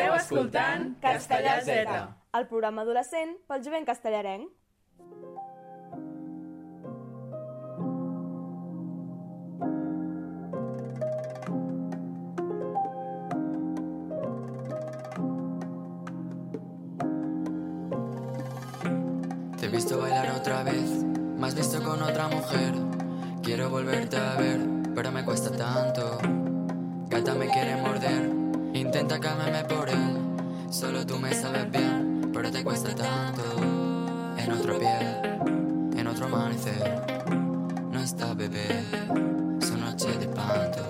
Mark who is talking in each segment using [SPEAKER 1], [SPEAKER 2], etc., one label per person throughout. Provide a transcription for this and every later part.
[SPEAKER 1] escoltant Castellà Z.
[SPEAKER 2] El programa adolescent pel jovent castellarenc.
[SPEAKER 3] Te he visto bailar otra vez, me has visto con otra mujer. Quiero volverte a ver, pero me cuesta tanto. Gata me quiere morder, intenta calmarme por él. Solo tú me sabes bien, pero te cuesta tanto. En otro pie, en otro amanecer. No está bebé, son noches de panto.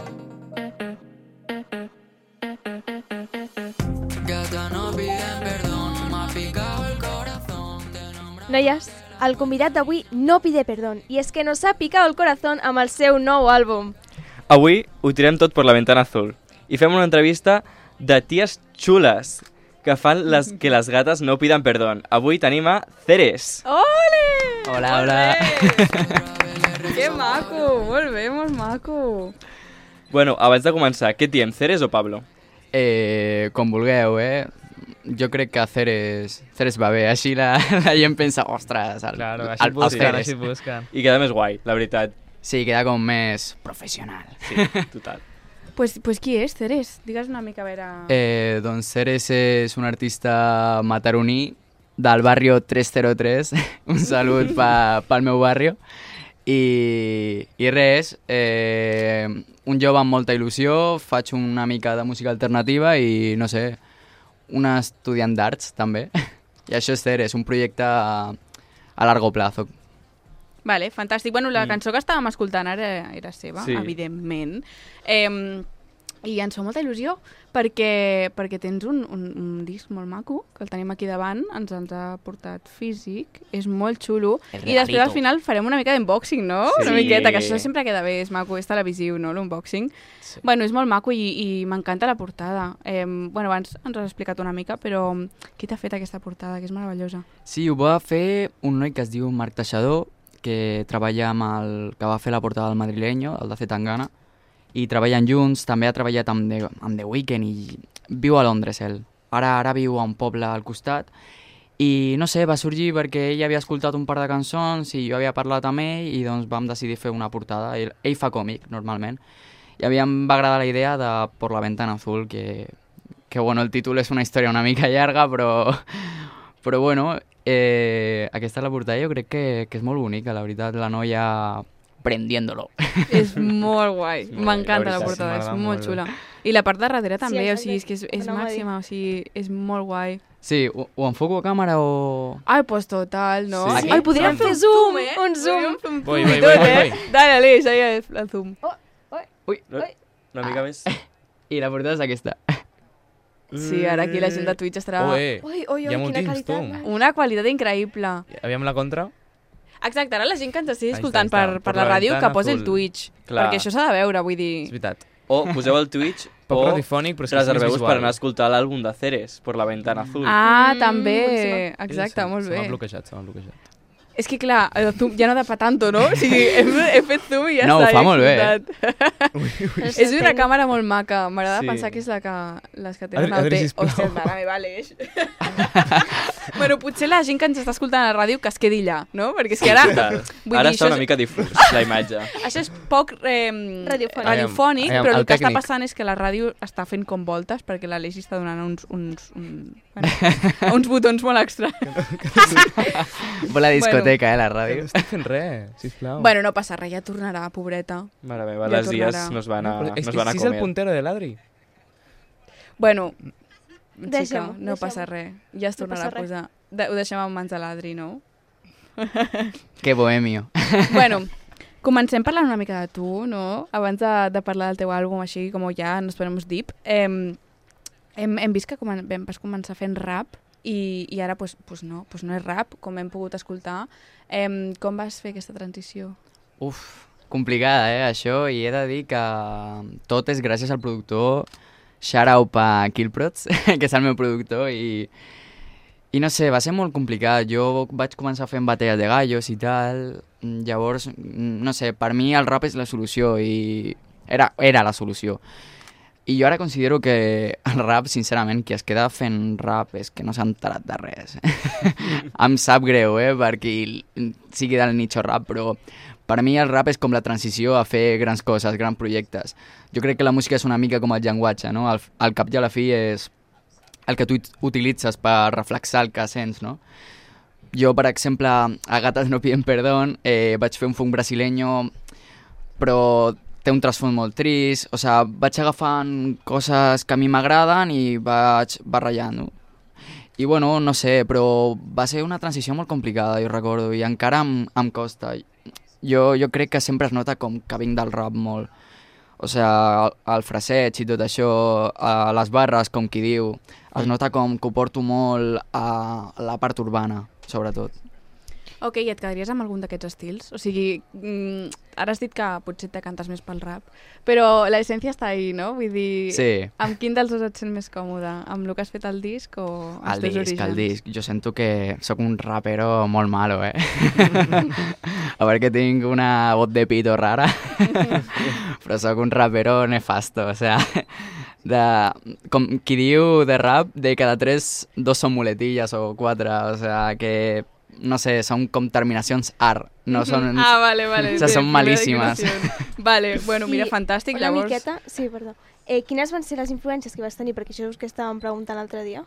[SPEAKER 3] Gata no piden perdón, me ha picado el corazón. Te nombra-
[SPEAKER 2] Noies, el convidat d'avui no pide perdón i és que nos ha picat el corazón amb el seu nou àlbum.
[SPEAKER 4] Avui ho tirem tot per la ventana azul i fem una entrevista de ties xules que fan les que les gates no pidan perdón. Avui tenim a Ceres.
[SPEAKER 5] Ole!
[SPEAKER 6] Hola, hola.
[SPEAKER 5] Que maco, molt bé, molt maco.
[SPEAKER 4] Bueno, abans de començar, què diem, Ceres o Pablo?
[SPEAKER 6] Eh, com vulgueu, eh? Jo crec que Ceres, Ceres va bé. Així la, la gent pensa, ostres, el,
[SPEAKER 7] Claro,
[SPEAKER 6] el,
[SPEAKER 7] així et
[SPEAKER 6] el
[SPEAKER 7] busquen,
[SPEAKER 6] Ceres.
[SPEAKER 7] així et busquen.
[SPEAKER 4] I queda més guai, la veritat.
[SPEAKER 6] Sí, queda com més professional.
[SPEAKER 4] Sí, total.
[SPEAKER 5] Pues, pues qui és, Ceres? Digues una mica a veure...
[SPEAKER 6] Eh, doncs Ceres és un artista mataroní del barrio 303. un salut pa, pel meu barrio. I, i res, eh, un jove amb molta il·lusió, faig una mica de música alternativa i, no sé, un estudiant d'arts, també. I això és Ceres, un projecte a, a largo plazo.
[SPEAKER 5] Vale, fantàstic. Bueno,
[SPEAKER 6] Mm.
[SPEAKER 5] la cançó que estàvem escoltant ara era seva,
[SPEAKER 4] Sí.
[SPEAKER 5] sí. evidentment. Eh, I ens fa molta il·lusió perquè, perquè tens un, un, un disc molt maco, que el tenim aquí davant, ens els ha portat físic, és molt xulo.
[SPEAKER 6] El
[SPEAKER 5] I després al
[SPEAKER 6] regalito.
[SPEAKER 5] final farem una mica d'unboxing, no?
[SPEAKER 4] Sí.
[SPEAKER 5] Una miqueta, que això sempre queda bé, és maco, és televisiu, no?, l'unboxing.
[SPEAKER 6] Sí.
[SPEAKER 5] Bueno, és molt maco i, i m'encanta la portada. Eh, bueno, abans ens has explicat una mica, però qui t'ha fet aquesta portada, que és meravellosa?
[SPEAKER 6] Sí, ho va fer un noi que es diu Marc Teixador, que treballa amb el que va fer la portada del madrileño, el de Zetangana, i treballen junts, també ha treballat amb The, amb The Weeknd i viu a Londres, ell. Ara ara viu a un poble al costat i no sé, va sorgir perquè ell havia escoltat un par de cançons i jo havia parlat amb ell i doncs vam decidir fer una portada. Ell, ell fa còmic, normalment. I a mi em va agradar la idea de Por la ventana azul, que, que bueno, el títol és una història una mica llarga, però però bueno, eh, aquesta la portada jo crec que, que és molt bonica, la veritat, la noia prendiéndolo.
[SPEAKER 5] És molt guai.
[SPEAKER 4] molt guai,
[SPEAKER 5] M'encanta
[SPEAKER 4] la
[SPEAKER 5] la
[SPEAKER 4] veritat,
[SPEAKER 5] portada, és
[SPEAKER 7] sí, m'agrada
[SPEAKER 5] molt,
[SPEAKER 7] molt.
[SPEAKER 5] xula. I la part de darrere també, o
[SPEAKER 2] exacte.
[SPEAKER 5] sigui, és que és, és
[SPEAKER 2] Anava a dir.
[SPEAKER 5] màxima, o sigui, és molt guai.
[SPEAKER 6] Sí, ho, ho enfoco a càmera o...
[SPEAKER 5] Ai, pues total, no?
[SPEAKER 4] Sí.
[SPEAKER 5] Ai,
[SPEAKER 4] Sí.
[SPEAKER 5] Ai, podríem fer zoom, eh?
[SPEAKER 2] un zoom.
[SPEAKER 5] Podríem fer un
[SPEAKER 7] Voy,
[SPEAKER 5] zoom i
[SPEAKER 7] voy,
[SPEAKER 5] tot,
[SPEAKER 7] voy,
[SPEAKER 5] eh?
[SPEAKER 7] voy,
[SPEAKER 5] Dale, Aleix, ahí el- el zoom.
[SPEAKER 6] Ui,
[SPEAKER 4] Una mica més...
[SPEAKER 6] i la portada és aquesta.
[SPEAKER 5] Sí, ara aquí la gent de Twitch estarà...
[SPEAKER 7] Oe,
[SPEAKER 2] Ui, ui,
[SPEAKER 7] ja
[SPEAKER 2] ui,
[SPEAKER 7] m'ho
[SPEAKER 2] quina
[SPEAKER 7] tens,
[SPEAKER 2] qualitat.
[SPEAKER 7] tu.
[SPEAKER 2] noi.
[SPEAKER 5] Una qualitat increïble.
[SPEAKER 7] aviam la contra.
[SPEAKER 5] Exacte, ara la gent que ens estigui
[SPEAKER 7] Ahí
[SPEAKER 5] escoltant
[SPEAKER 7] està, ahí està.
[SPEAKER 5] per, per
[SPEAKER 7] Por
[SPEAKER 5] la
[SPEAKER 7] la
[SPEAKER 5] ràdio que
[SPEAKER 7] ventana
[SPEAKER 5] posi el
[SPEAKER 7] azul.
[SPEAKER 5] Twitch.
[SPEAKER 4] Clar.
[SPEAKER 5] Perquè això s'ha de veure, vull
[SPEAKER 7] És
[SPEAKER 5] dir...
[SPEAKER 7] veritat.
[SPEAKER 4] O poseu el Twitch
[SPEAKER 7] Poc
[SPEAKER 4] o
[SPEAKER 7] radiofònic, però és que és més
[SPEAKER 4] reserveu-vos
[SPEAKER 7] visual.
[SPEAKER 4] per anar a escoltar l'àlbum de Ceres, per la ventana azul.
[SPEAKER 5] Ah,
[SPEAKER 2] Mm,
[SPEAKER 5] també.
[SPEAKER 2] potser
[SPEAKER 5] Exacte, molt
[SPEAKER 7] Se m'ha
[SPEAKER 5] bé.
[SPEAKER 7] bloquejat, se m'ha bloquejat.
[SPEAKER 5] És que, clar, el zoom ja no da pa tanto, no? O sigui, hem, hem fet zoom i ja
[SPEAKER 6] No, ho
[SPEAKER 5] està.
[SPEAKER 6] fa
[SPEAKER 5] ja he
[SPEAKER 6] molt bé.
[SPEAKER 5] escoltat. És una
[SPEAKER 2] Sorprèn.
[SPEAKER 5] càmera molt maca. M'agrada
[SPEAKER 4] Sí.
[SPEAKER 5] sí. pensar que és la que, les que
[SPEAKER 7] Adri-
[SPEAKER 5] tenen el
[SPEAKER 7] Adri,
[SPEAKER 5] té.
[SPEAKER 7] sisplau.
[SPEAKER 5] Hòstia, mare meva, Aleix. bueno, potser la gent que ens està escoltant a la ràdio que es quedi allà, no? Perquè és que ara...
[SPEAKER 4] Total.
[SPEAKER 5] Vull
[SPEAKER 4] Ara
[SPEAKER 5] dir,
[SPEAKER 4] està
[SPEAKER 5] això
[SPEAKER 4] una
[SPEAKER 5] és-
[SPEAKER 4] mica difús, la imatge.
[SPEAKER 5] Això és poc eh,
[SPEAKER 2] Radiofònic.
[SPEAKER 5] radiofònic
[SPEAKER 7] Aviam, aviam,
[SPEAKER 5] però el,
[SPEAKER 7] el
[SPEAKER 5] que està
[SPEAKER 7] tècnic.
[SPEAKER 5] passant és que la ràdio està fent com voltes perquè l'Aleix està donant uns, uns, un, bueno, uns botons molt extra.
[SPEAKER 6] Vol la discoteca, eh, la
[SPEAKER 7] No
[SPEAKER 6] ràdio.
[SPEAKER 7] estic fent res, sisplau.
[SPEAKER 5] Bueno, no passa res, ja tornarà, pobreta.
[SPEAKER 4] Mare meva,
[SPEAKER 5] Ja
[SPEAKER 4] les dies
[SPEAKER 5] tornarà.
[SPEAKER 4] no es van a,
[SPEAKER 7] però
[SPEAKER 4] Ah, no,
[SPEAKER 7] és
[SPEAKER 4] es
[SPEAKER 7] que
[SPEAKER 4] van a
[SPEAKER 7] si és el
[SPEAKER 4] comer.
[SPEAKER 7] puntero de l'Adri.
[SPEAKER 5] Bueno,
[SPEAKER 2] Deixem-ho,
[SPEAKER 5] xica, no
[SPEAKER 2] deixem-ho.
[SPEAKER 5] passa res. Ja es
[SPEAKER 2] No
[SPEAKER 5] tornarà
[SPEAKER 2] passa
[SPEAKER 5] a
[SPEAKER 2] res.
[SPEAKER 5] posar. De, ho deixem en mans de l'Adri, no?
[SPEAKER 6] Que bohemio.
[SPEAKER 5] bueno, comencem parlant una mica de tu, no? Abans de, de parlar del teu àlbum, així com ja ens posem deep, eh, hem, hem vist que comen vam, vas començar fent rap i, i ara pues, pues no, pues no és rap, com hem pogut escoltar. Eh, com vas fer aquesta transició?
[SPEAKER 6] Uf, complicada, eh, això, i he de dir que tot és gràcies al productor shout out a Killprots, que és el meu productor, i, i no sé, va ser molt complicat. Jo vaig començar fent batalles de gallos i tal, mm, llavors, mm, no sé, per mi el rap és la solució, i era, era la solució. I jo ara considero que el rap, sincerament, qui es queda fent rap és que no s'ha enterat de res. em sap greu, eh, per qui sigui del nicho rap, però per mi el rap és com la transició a fer grans coses, grans projectes. Jo crec que la música és una mica com el llenguatge, no? Al, al cap i a la fi és el que tu ut- utilitzes per reflexar el que sents, no? Jo, per exemple, a Gatas no piden perdón, eh, vaig fer un funk brasileño, però té un trasfons molt trist, o sigui, vaig agafant coses que a mi m'agraden i vaig barrejant-ho. I bueno, no sé, però va ser una transició molt complicada, jo recordo, i encara em, em costa. Jo, jo crec que sempre es nota com que vinc del rap molt. O sigui, el, el fraseig i tot això, a les barres, com qui diu, es nota com que ho porto molt a la part urbana, sobretot.
[SPEAKER 5] Ok, i et quedaries amb algun d'aquests estils? O sigui, mm, ara has dit que potser te cantes més pel rap, però l'essència està ahí, no? Vull dir,
[SPEAKER 6] Sí.
[SPEAKER 5] amb quin dels dos et sents més còmode? Amb el que has fet al disc o els
[SPEAKER 6] El
[SPEAKER 5] teus
[SPEAKER 6] disc,
[SPEAKER 5] orígens?
[SPEAKER 6] el disc. Jo sento que sóc un rapero molt malo, eh? a veure que tinc una voz de pito rara, però sóc un rapero nefasto, o sea, de, com qui diu de rap, de cada tres, dos són muletillas o quatre, o sea, que, no sé, són com terminacions art, no són...
[SPEAKER 5] Ah, vale, vale.
[SPEAKER 6] O sea,
[SPEAKER 5] bé,
[SPEAKER 6] són
[SPEAKER 5] una
[SPEAKER 6] malíssimes.
[SPEAKER 5] declaració. Vale, bueno, mira,
[SPEAKER 2] I
[SPEAKER 5] fantàstic,
[SPEAKER 2] una
[SPEAKER 5] llavors...
[SPEAKER 2] Miqueta, sí, perdó. Eh, quines van ser les influències que vas tenir? Perquè això és que estàvem preguntant l'altre dia.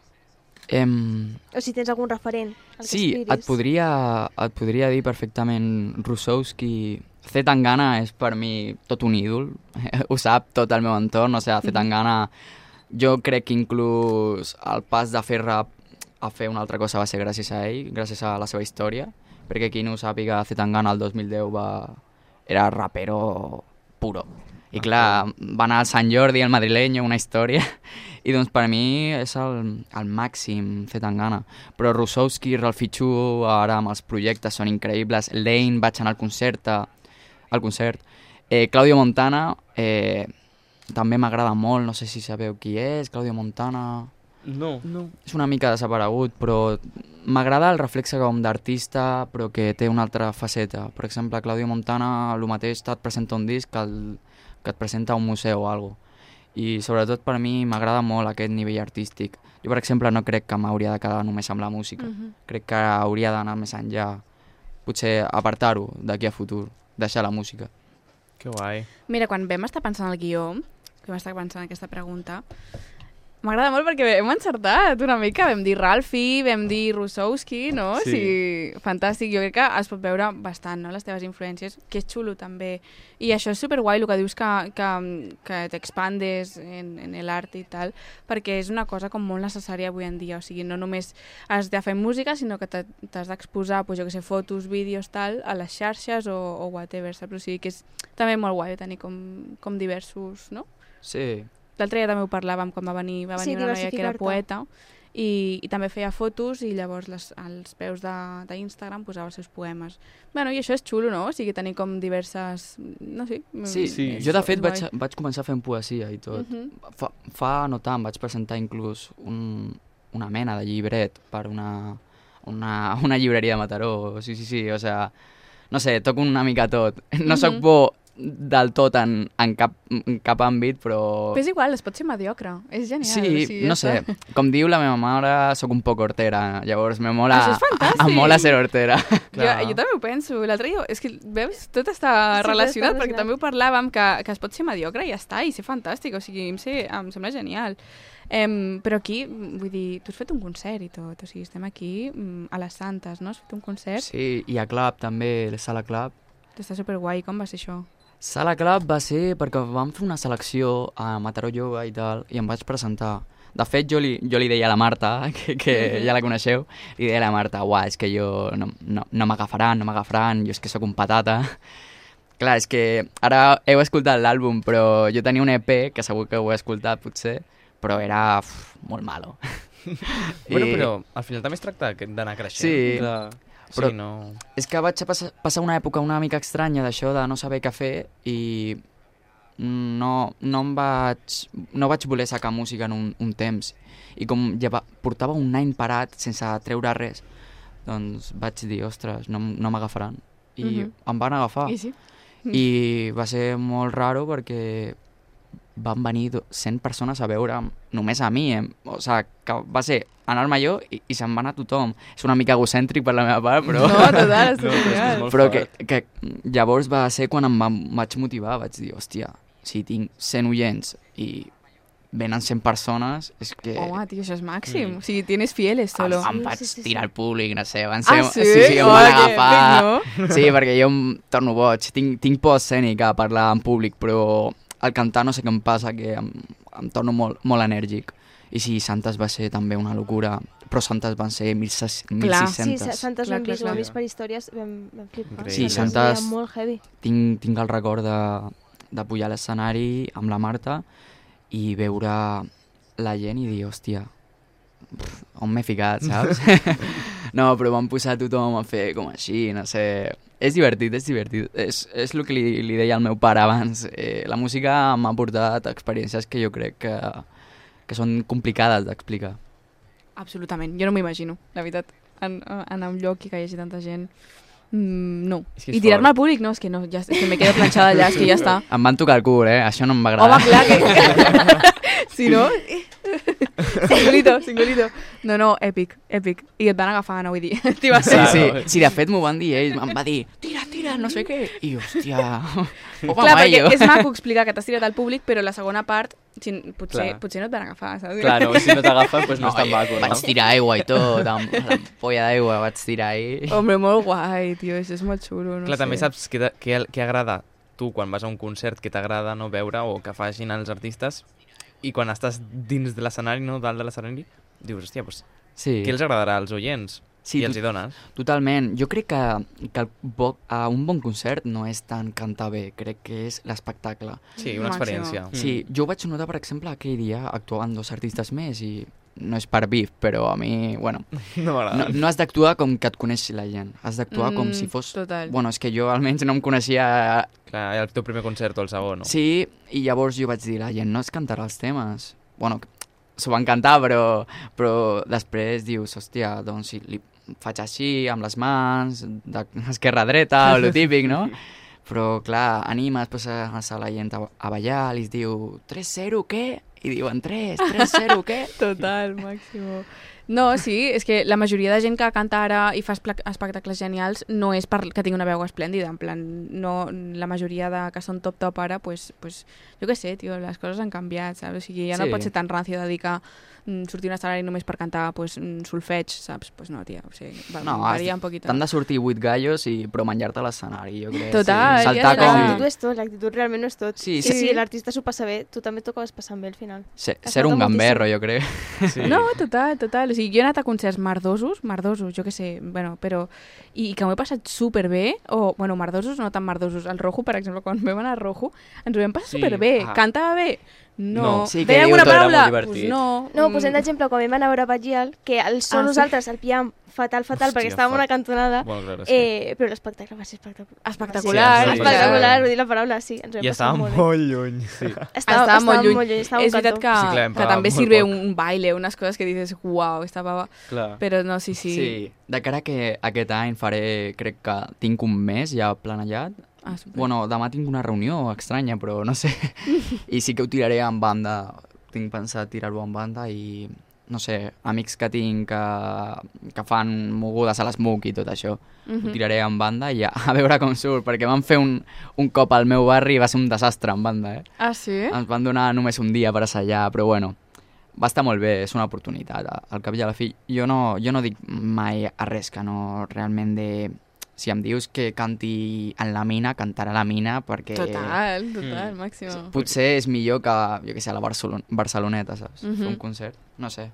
[SPEAKER 6] Em,
[SPEAKER 2] O si tens algun referent. al que
[SPEAKER 6] Sí,
[SPEAKER 2] aspiris.
[SPEAKER 6] et podria, et podria dir perfectament Rusowski. C. Tangana és per mi tot un ídol, ho sap tot el meu entorn, o sigui, C. Tangana, jo crec que inclús el pas de fer rap a fer una altra cosa va ser gràcies a ell, gràcies a la seva història, perquè qui no ho sàpiga, C. Tangana el 2010 va... era rapero puro. I clar, va anar al Sant Jordi, el madrileño, una història, i doncs per mi és el, el màxim C. Tangana. Però Rusowski, Ralph Fichu, ara amb els projectes són increïbles. Lane, vaig anar al concert, a- al concert. Eh, Claudio Montana, eh, també m'agrada molt, no sé si sabeu qui és, Claudio Montana...
[SPEAKER 4] No. no.
[SPEAKER 6] És una mica desaparegut, però m'agrada el reflexe com d'artista, però que té una altra faceta. Per exemple, Claudio Montana, el mateix, et presenta un disc que, el, que et presenta a un museu o alguna I sobretot per mi m'agrada molt aquest nivell artístic. Jo, per exemple, no crec que m'hauria de quedar només amb la música.
[SPEAKER 5] Mhm.
[SPEAKER 6] Crec que hauria d'anar més enllà. Potser apartar-ho d'aquí a futur, deixar la música.
[SPEAKER 7] Que guai.
[SPEAKER 5] Mira, quan vam estar pensant el guió, que vam estar pensant aquesta pregunta, m'agrada molt perquè hem encertat una mica. Vam dir Ralfi, vam dir Rusowski, no?
[SPEAKER 7] Sí.
[SPEAKER 5] Sí. sí. Fantàstic. Jo crec que es pot veure bastant, no?, les teves influències, que és xulo, també. I això és superguai, el que dius que, que, que t'expandes en, en l'art i tal, perquè és una cosa com molt necessària avui en dia. O sigui, no només has de fer música, sinó que t'ha- t'has d'exposar, pues, jo que sé, fotos, vídeos, tal, a les xarxes o, o whatever, saps? O sigui, que és també molt guai tenir com, com diversos, no?
[SPEAKER 6] Sí,
[SPEAKER 5] L'altre dia també ho parlàvem quan va venir, va
[SPEAKER 2] Sí,
[SPEAKER 5] venir sí, una noia que era
[SPEAKER 2] diversificar-te.
[SPEAKER 5] poeta i, i també feia fotos i llavors les, als peus de- d'Instagram posava els seus poemes. Bueno, i això és xulo, no? O sigui, tenir com diverses... No sé.
[SPEAKER 6] sí, sí.
[SPEAKER 5] és-
[SPEAKER 6] jo de fet
[SPEAKER 5] és
[SPEAKER 6] vaig,
[SPEAKER 5] guai.
[SPEAKER 6] vaig començar fent poesia i tot.
[SPEAKER 5] Mhm.
[SPEAKER 6] fa, fa no tant vaig presentar inclús un, una mena de llibret per una, una, una llibreria de Mataró. Sí, sí, sí, o sea, no sé, toco una mica tot. No sóc
[SPEAKER 5] Mhm.
[SPEAKER 6] bo del tot en, en, cap, en cap àmbit, però...
[SPEAKER 5] Però és igual, es pot ser mediocre. És genial. o
[SPEAKER 6] Sí,
[SPEAKER 5] sigui, ja
[SPEAKER 6] no
[SPEAKER 5] està.
[SPEAKER 6] sé, com diu la meva mare, sóc un poc hortera, llavors me
[SPEAKER 5] Això
[SPEAKER 6] mola,
[SPEAKER 5] és fantàstic.
[SPEAKER 6] em mola ser hortera.
[SPEAKER 5] Jo, jo també ho penso. L'altre dia, és que veus, tot està
[SPEAKER 2] Sí, tot
[SPEAKER 5] relacionat,
[SPEAKER 2] està
[SPEAKER 5] perquè
[SPEAKER 2] relacionat.
[SPEAKER 5] també ho parlàvem, que, que es pot ser mediocre i ja està, i ser fantàstic, o sigui, em, sé, em sembla genial. Em, però aquí, vull dir, tu has fet un concert i tot, o sigui, estem aquí mm, a les Santes, no? Has fet un concert,
[SPEAKER 6] Sí, i a Club també, la sala Club.
[SPEAKER 5] està superguai, com va ser això?
[SPEAKER 6] Sala Club va ser perquè vam fer una selecció a Mataró Yoga i tal, i em vaig presentar. De fet, jo li, jo li deia a la Marta, que, que
[SPEAKER 7] Mhm.
[SPEAKER 6] ja la coneixeu, li deia a la Marta, uah, és que jo no, no, no m'agafaran, no m'agafaran, jo és que sóc un patata. Clar, és que ara heu escoltat l'àlbum, però jo tenia un EP, que segur que ho he escoltat potser, però era uf, molt malo.
[SPEAKER 7] Bueno,
[SPEAKER 6] I-
[SPEAKER 7] però al final també es tracta que- d'anar creixent.
[SPEAKER 6] Sí.
[SPEAKER 7] De...
[SPEAKER 6] Però-
[SPEAKER 7] Però... Sí, no...
[SPEAKER 6] És que vaig passar, passar una època una mica estranya d'això, de no saber què fer, i no, no em vaig, no vaig voler sacar música en un, un temps. I com ja va, portava un any parat sense treure res, doncs vaig dir, ostres, no, m- no m'agafaran. I
[SPEAKER 5] Mhm.
[SPEAKER 6] Ah. em van agafar.
[SPEAKER 5] I sí.
[SPEAKER 6] I va ser molt raro perquè van venir do- 100 persones a veure'm, només a mi, eh? o sigui, que va ser anar-me jo i, i se'n va anar tothom. És una mica egocèntric per la meva part, però...
[SPEAKER 5] No, total, és
[SPEAKER 4] No, però és que és
[SPEAKER 5] genial.
[SPEAKER 4] molt
[SPEAKER 6] Però que,
[SPEAKER 4] fort.
[SPEAKER 6] que llavors va ser quan em va, vaig motivar, vaig dir, hòstia, si tinc 100 oients i venen 100 persones, és que
[SPEAKER 5] Home, tio, això és màxim. O sigui, tienes fieles
[SPEAKER 6] em,
[SPEAKER 5] solo.
[SPEAKER 6] em
[SPEAKER 2] Sí,
[SPEAKER 6] vaig
[SPEAKER 2] sí, sí, sí.
[SPEAKER 6] tirar al públic, no sé, van ser...
[SPEAKER 5] Ah, sí?
[SPEAKER 6] Ah, sí, sí em
[SPEAKER 5] Hola,
[SPEAKER 6] van
[SPEAKER 5] que
[SPEAKER 6] agafar...
[SPEAKER 5] big,
[SPEAKER 6] Sí, perquè jo em torno boig. Tinc, tinc por escènica a parlar en públic, però al cantar no sé què em passa, que em, em torno molt, molt enèrgic. I sí, Santes va ser també una locura, però Santes van ser 1600.
[SPEAKER 5] Clar.
[SPEAKER 2] Sí, sa- Santes
[SPEAKER 5] Clar,
[SPEAKER 2] l'hem
[SPEAKER 5] clar,
[SPEAKER 2] vist, ho hem
[SPEAKER 5] clar.
[SPEAKER 2] vist per històries, vam, vam flipar.
[SPEAKER 7] Increïble.
[SPEAKER 6] Sí,
[SPEAKER 2] Santes
[SPEAKER 6] Santes-
[SPEAKER 2] era Molt heavy.
[SPEAKER 6] tinc, tinc el record de, de pujar a l'escenari amb la Marta i veure la gent i dir, hòstia, pff, on m'he ficat, saps? no, però van posar tothom a fer com així, no sé... És divertit, és divertit. És, és el que li, li deia al meu pare abans. Eh, la música m'ha portat experiències que jo crec que, que són complicades d'explicar.
[SPEAKER 5] Absolutament. Jo no m'ho imagino, la veritat. En, eh, anar a un lloc i que hi hagi tanta gent... Mm, no.
[SPEAKER 7] És que és
[SPEAKER 5] I tirar-me al públic? No, és que no, ja, és que me quedo planxada allà, és que ja està.
[SPEAKER 6] Em van tocar el cul, eh? Això no em va agradar.
[SPEAKER 5] Home, clar que... si no... singulito, singulito. No, no, èpic, èpic. I et van agafar, no vull dir. T'hi vas
[SPEAKER 6] Sí,
[SPEAKER 5] fer.
[SPEAKER 6] sí,
[SPEAKER 7] Claro.
[SPEAKER 6] sí, de fet m'ho van dir ells, em va dir, tira, tira, no sé què. I jo, hòstia, home,
[SPEAKER 5] Clar, perquè
[SPEAKER 6] maio.
[SPEAKER 5] és maco explicar que t'has tirat al públic, però la segona part, si, potser,
[SPEAKER 4] Clar.
[SPEAKER 5] potser no et van agafar, saps?
[SPEAKER 4] Claro, si no t'agafa, pues no, no és tan
[SPEAKER 6] eh,
[SPEAKER 4] maco, no?
[SPEAKER 6] Vaig tirar aigua i tot, amb l'ampolla d'aigua vaig tirar ahí.
[SPEAKER 5] Hombre, molt guai, tio, això és molt xulo. No
[SPEAKER 7] Clar,
[SPEAKER 5] sé.
[SPEAKER 7] també saps què, te- què, què agrada tu quan vas a un concert que t'agrada no veure o que facin els artistes i quan estàs dins de l'escenari, no, dalt de l'escenari, dius, hòstia, doncs,
[SPEAKER 6] Sí,
[SPEAKER 7] què els agradarà als oients?
[SPEAKER 6] Sí,
[SPEAKER 7] Sí, I
[SPEAKER 6] tu-
[SPEAKER 7] els hi dones?
[SPEAKER 5] Mm,
[SPEAKER 6] totalment. Jo crec que, que el bo, a un bon concert no és tant cantar bé, crec que és l'espectacle.
[SPEAKER 7] Sí, una
[SPEAKER 5] Màximo.
[SPEAKER 7] experiència.
[SPEAKER 6] Sí, jo ho vaig notar, per exemple, aquell dia actuaven dos artistes més i no és per bif, però a mi, bueno,
[SPEAKER 7] No
[SPEAKER 6] no,
[SPEAKER 7] m'agrada.
[SPEAKER 6] no has d'actuar com que et coneixi la gent, has d'actuar mm, com
[SPEAKER 5] Mm,
[SPEAKER 6] si fos...
[SPEAKER 5] total.
[SPEAKER 6] Bueno, és que jo almenys no em coneixia
[SPEAKER 7] Clar, el teu primer concert o el segon, no?
[SPEAKER 6] Sí, i llavors jo vaig dir, la gent no es cantarà els temes. Bueno, s'ho van cantar, però, però després dius, hòstia, doncs si li faig així, amb les mans, d'esquerra-dreta, o lo típic, no? Però, clar, animes, poses a la gent a a ballar, li diu 3-0, què? I diuen 3, 3-0, què?
[SPEAKER 5] Total, màximo. No, sí, és que la majoria de gent que canta ara i fa espla- espectacles genials no és per que tingui una veu esplèndida, en plan, no, la majoria de que són top-top ara, pues, pues, jo què sé, tio, les coses han canviat, saps? O sigui, ja no
[SPEAKER 6] Sí.
[SPEAKER 5] pot ser tan rancio de dir que mm, sortir a un escenari només per cantar pues, mm, solfeig, saps? Pues no, tia, o sigui, va,
[SPEAKER 6] No, has-
[SPEAKER 5] varia un poquito.
[SPEAKER 6] T'han de sortir 8 gallos i però menjar-te l'escenari, jo crec.
[SPEAKER 5] Total,
[SPEAKER 6] sí.
[SPEAKER 5] Ah,
[SPEAKER 6] Saltar
[SPEAKER 5] ja està.
[SPEAKER 6] com...
[SPEAKER 2] L'actitud és tot, l'actitud realment no és tot.
[SPEAKER 6] Sí,
[SPEAKER 2] sí,
[SPEAKER 6] sí.
[SPEAKER 2] sí l'artista s'ho passa bé, tu també t'ho acabes passant bé al final.
[SPEAKER 6] Ser,
[SPEAKER 2] es
[SPEAKER 6] ser
[SPEAKER 2] nota
[SPEAKER 6] un
[SPEAKER 2] moltíssim.
[SPEAKER 6] gamberro, jo crec.
[SPEAKER 7] sí.
[SPEAKER 5] No, total, total. O sigui, jo he anat a concerts mardosos, mardosos, jo que sé, bueno, però... I, que m'ho he passat superbé, o, bueno, mardosos no tan mardosos. El Rojo, per exemple, quan vam anar a Rojo, ens ho vam passar
[SPEAKER 7] Sí,
[SPEAKER 5] superbé.
[SPEAKER 7] ah.
[SPEAKER 5] Cantava bé? No.
[SPEAKER 6] No, sí,
[SPEAKER 5] Deia
[SPEAKER 6] que
[SPEAKER 5] alguna
[SPEAKER 6] diu, tot era
[SPEAKER 5] paraula?
[SPEAKER 6] molt divertit.
[SPEAKER 5] Pues no.
[SPEAKER 2] No,
[SPEAKER 5] Mm.
[SPEAKER 2] posem d'exemple, quan vam anar a veure Bagial, que el so
[SPEAKER 5] Ah, sí?
[SPEAKER 2] nosaltres el pillàvem fatal, fatal, perquè
[SPEAKER 7] Hòstia,
[SPEAKER 2] estàvem a una
[SPEAKER 7] fat-
[SPEAKER 2] cantonada,
[SPEAKER 7] Bueno, clar, sí.
[SPEAKER 2] eh, però l'espectacle va ser espectacular.
[SPEAKER 5] Espectacular.
[SPEAKER 7] Sí, sí.
[SPEAKER 2] Espectacular, vull dir la paraula, sí. Ens ho vam
[SPEAKER 7] I
[SPEAKER 2] passar
[SPEAKER 7] estava
[SPEAKER 2] molt bé.
[SPEAKER 7] molt lluny. Sí.
[SPEAKER 2] Estava, estava, molt lluny, molt lluny estava
[SPEAKER 5] és
[SPEAKER 2] un cantó.
[SPEAKER 5] veritat que,
[SPEAKER 7] Sí, clar, em
[SPEAKER 5] que
[SPEAKER 7] pagava
[SPEAKER 5] també
[SPEAKER 7] molt
[SPEAKER 5] sirve
[SPEAKER 7] poc.
[SPEAKER 5] un baile, unes coses que dices, uau, estava...
[SPEAKER 4] Clar.
[SPEAKER 5] Però no, sí, sí.
[SPEAKER 6] Sí, de cara que aquest any faré, crec que tinc un mes ja planejat.
[SPEAKER 5] Ah, super.
[SPEAKER 6] Bueno, demà tinc una reunió estranya, però no sé. I sí que ho tiraré en banda. Tinc pensat tirar-ho en banda i, no sé, amics que tinc que, que fan mogudes a les MUC i tot això.
[SPEAKER 5] Mhm.
[SPEAKER 6] Ho tiraré en banda i a, a veure com surt, perquè van fer un, un cop al meu barri i va ser un desastre en banda, eh?
[SPEAKER 5] Ah, sí?
[SPEAKER 6] Ens van donar només un dia per assajar, però bueno, va estar molt bé, és una oportunitat. a- Al cap i a la fi, jo no, jo no dic mai a res que no realment de... Si em dius que canti en la mina, cantarà a la mina, perquè...
[SPEAKER 5] Total, total,
[SPEAKER 7] Mm.
[SPEAKER 5] màximo.
[SPEAKER 6] Potser és millor que, jo què sé, a la Barcelon Barceloneta, saps? Mm -hmm. Fer
[SPEAKER 5] Mhm.
[SPEAKER 6] un concert, no sé.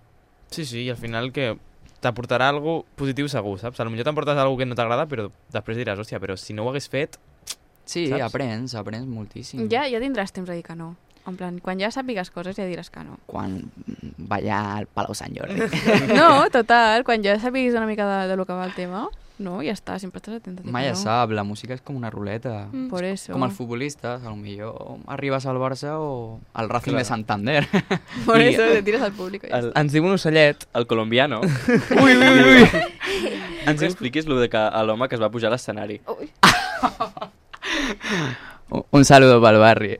[SPEAKER 7] sí, sí, i al final que t'aportarà algo positiu segur, saps? A lo millor t'emportes algo que no t'agrada, però després diràs, hòstia, però si no ho hagués fet...
[SPEAKER 6] Sí,
[SPEAKER 7] Saps?
[SPEAKER 6] saps? aprens, aprens moltíssim.
[SPEAKER 5] Ja, ja tindràs temps de dir que no. En plan, quan ja sàpigues coses ja diràs que no.
[SPEAKER 6] Quan mm, ballar al Palau Sant Jordi.
[SPEAKER 5] No, total, quan ja sàpiguis una mica de, de lo que va el tema, no, ja està, sempre estàs atent. a dir que
[SPEAKER 6] Mai
[SPEAKER 5] no.
[SPEAKER 6] es sap, la música és com una ruleta.
[SPEAKER 2] Mm.
[SPEAKER 5] Por eso.
[SPEAKER 6] Com els futbolistes, a lo millor arribes al Barça o al Racing de Santander.
[SPEAKER 5] Por
[SPEAKER 6] I-
[SPEAKER 5] eso te tires al públic. Ja.
[SPEAKER 4] El,
[SPEAKER 7] Ens diu un ocellet...
[SPEAKER 4] el colombiano... ui, ui, ui! Ens expliquis lo de que a l'home que es va pujar a l'escenari.
[SPEAKER 6] Un saludo pel barri.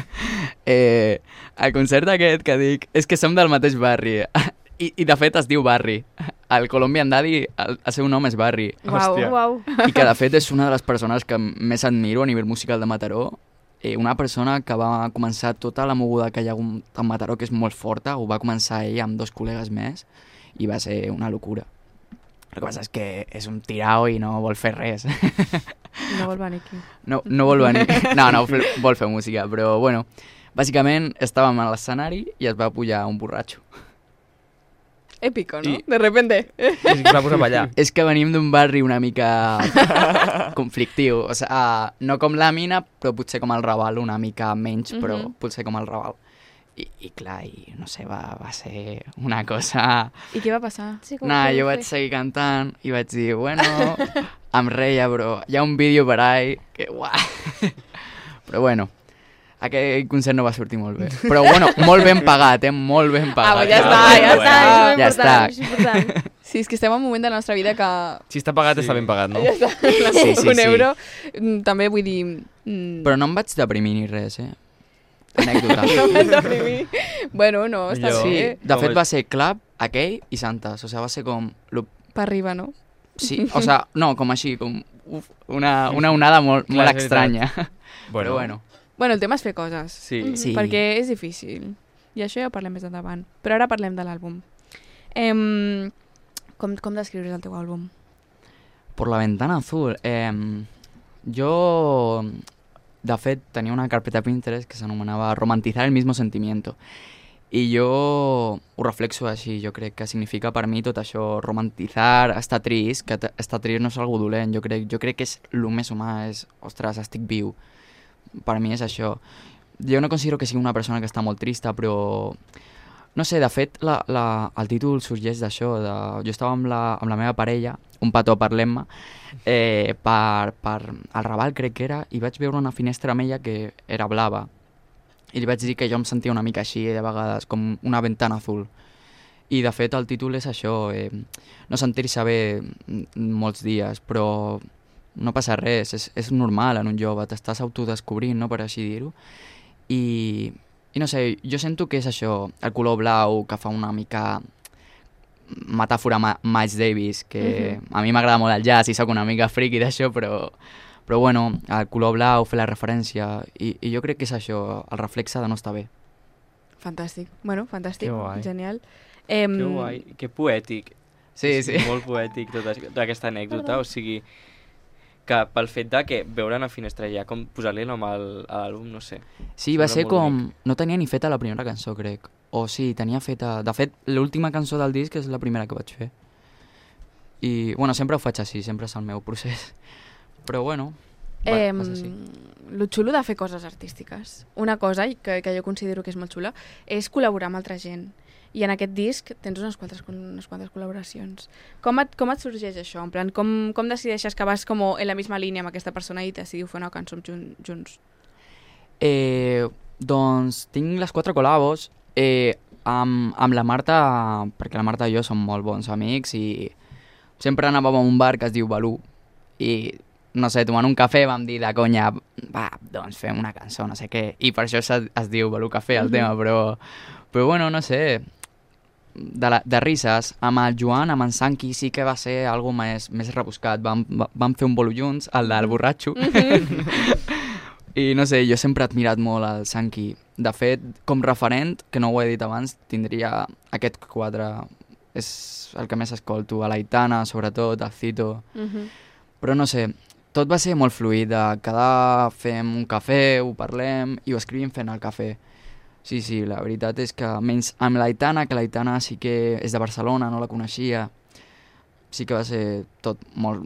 [SPEAKER 6] eh, el concert aquest que dic, és que som del mateix barri. I, i de fet es diu Barri. El Colombian Daddy, el, el seu nom és Barri.
[SPEAKER 5] Uau,
[SPEAKER 4] Hòstia.
[SPEAKER 5] uau.
[SPEAKER 6] I que de fet és una de les persones que més admiro a nivell musical de Mataró. Eh, una persona que va començar tota la moguda que hi ha hagut a Mataró, que és molt forta, ho va començar ell amb dos col·legues més, i va ser una locura. El que passa és que és un tirao i no vol fer res.
[SPEAKER 5] No vol venir aquí.
[SPEAKER 6] No, no vol venir. No, no, fer- vol fer música, però bueno. Bàsicament estàvem a l'escenari i es va pujar un borratxo.
[SPEAKER 5] Épico, ¿no?
[SPEAKER 7] I-
[SPEAKER 5] De repente.
[SPEAKER 7] I es va posar a ballar.
[SPEAKER 6] És que venim d'un barri una mica conflictiu, o sigui, no com la mina, però potser com el Raval una mica menys, però
[SPEAKER 5] Mhm.
[SPEAKER 6] potser com el Raval. I, i clar, i no sé, va, va ser una cosa...
[SPEAKER 5] ¿Y qué va a pasar?
[SPEAKER 2] Sí, com
[SPEAKER 6] Nah,
[SPEAKER 2] que
[SPEAKER 6] jo
[SPEAKER 2] ho
[SPEAKER 6] vaig
[SPEAKER 2] fes.
[SPEAKER 6] seguir cantant i vaig dir, bueno, em reia, però hi ha un vídeo per ahí que uah. Però bueno, aquell concert no va sortir molt bé. Però bueno, molt ben pagat, eh? Molt ben pagat.
[SPEAKER 5] Ah, ja
[SPEAKER 7] està,
[SPEAKER 5] ja
[SPEAKER 2] està,
[SPEAKER 5] està.
[SPEAKER 6] Ja
[SPEAKER 2] és molt
[SPEAKER 6] està.
[SPEAKER 2] important, és important.
[SPEAKER 5] Sí, és que estem en un moment de la nostra vida que
[SPEAKER 7] Si està pagat, està ben pagat, no?
[SPEAKER 6] Sí, sí,
[SPEAKER 5] un
[SPEAKER 6] sí.
[SPEAKER 5] euro mm, també vull dir... Mm,
[SPEAKER 6] Però no em vaig deprimir ni res, eh? Anècdota.
[SPEAKER 5] no m'has deprimir. bueno, no, està
[SPEAKER 7] Millor.
[SPEAKER 6] Sí,
[SPEAKER 5] bé.
[SPEAKER 6] de
[SPEAKER 7] Com
[SPEAKER 6] fet
[SPEAKER 7] és?
[SPEAKER 6] va ser Club, aquell i Santes. O sigui, va ser com... lo-
[SPEAKER 5] Per arriba, no?
[SPEAKER 6] Sí, o sigui, no, com així, com uf, una, una onada molt,
[SPEAKER 7] Clar,
[SPEAKER 6] molt
[SPEAKER 7] és veritat.
[SPEAKER 6] estranya. Però bueno,
[SPEAKER 5] Bueno, el tema és fer coses.
[SPEAKER 7] Sí.
[SPEAKER 6] sí.
[SPEAKER 5] Perquè és difícil. I això ja ho parlem més endavant. Però ara parlem de l'àlbum. Em, com, com descriuries el teu àlbum?
[SPEAKER 6] Por la ventana azul. Eh, jo, de fet, tenia una carpeta a Pinterest que s'anomenava Romantizar el mismo sentimiento. I jo ho reflexo així, jo crec que significa per mi tot això, romantitzar, estar trist, que t- estar trist no és algo dolent, jo crec, jo crec que és el més humà, és, ostres, estic viu. Per mi és això. Jo no considero que sigui una persona que està molt trista, però no sé, de fet, la, la, el títol sorgeix d'això. De... Jo estava amb la, amb la meva parella, un petó per l'Emma, eh, per, per el Raval, crec que era, i vaig veure una finestra amb ella que era blava. I li vaig dir que jo em sentia una mica així, eh, de vegades, com una ventana azul. I, de fet, el títol és això, eh, no sentir-se bé mm, molts dies, però no passa res, és, és normal en un jove, t'estàs autodescobrint, no?, per així dir-ho. I, i no sé, jo sento que és això, el color blau que fa una mica metàfora Ma Miles Davis, que a mi m'agrada molt el jazz i sóc una mica friki d'això, però, però bueno, el color blau, fer la referència, i, i jo crec que és això, el reflexe de no estar bé.
[SPEAKER 5] Fantàstic. Bueno, fantàstic.
[SPEAKER 7] Que guai.
[SPEAKER 5] Genial. Em,
[SPEAKER 4] Que guai, que poètic.
[SPEAKER 6] Mm. Sí,
[SPEAKER 4] És
[SPEAKER 6] sí.
[SPEAKER 4] Molt poètic tota tota aquesta anècdota, o sigui, que pel fet de que veure una finestra ja, com posar-li nom al, a l'àlbum, no sé.
[SPEAKER 6] Sí, va
[SPEAKER 4] Sembla
[SPEAKER 6] ser
[SPEAKER 4] molt
[SPEAKER 6] com... No tenia ni feta la primera cançó, crec. O sí, tenia feta... De fet, l'última cançó del disc és la primera que vaig fer. I, bueno, sempre ho faig així, sempre és el meu procés. Però bueno, va,
[SPEAKER 5] Eh,
[SPEAKER 6] va ser així.
[SPEAKER 5] lo xulo de fer coses artístiques. Una cosa i que, que jo considero que és molt xula és col·laborar amb altra gent. I en aquest disc tens unes quantes, unes quantes col·laboracions. Com et, com et sorgeix això? En plan, com, com decideixes que vas com en la misma línia amb aquesta persona i decidiu fer una cançó jun, junts?
[SPEAKER 6] Eh, doncs tinc les quatre col·labos eh, amb, amb la Marta, perquè la Marta i jo som molt bons amics i sempre anàvem a un bar que es diu Balú i, no sé, tomant un cafè vam dir de conya, va, doncs fem una cançó, no sé què, i per això es, es diu Balú Cafè el tema, però, però bueno, no sé, de, la, de rises, amb el Joan, amb en Sanqui, sí que va ser algo més, més rebuscat. Vam, va- vam fer un bolo junts, el del borratxo. I no sé, jo sempre he admirat molt el Sanqui. De fet, com referent, que no ho he dit abans, tindria aquest quadre. És el que més escolto, a l'Aitana, sobretot, a Cito.
[SPEAKER 5] Uh -huh.
[SPEAKER 6] Però no sé, tot va ser molt fluid, de quedar, fem un cafè, ho parlem i ho escrivim fent el cafè. Sí, sí, la veritat és que menys amb l'Aitana, que l'Aitana sí que és de Barcelona, no la coneixia, sí que va ser tot molt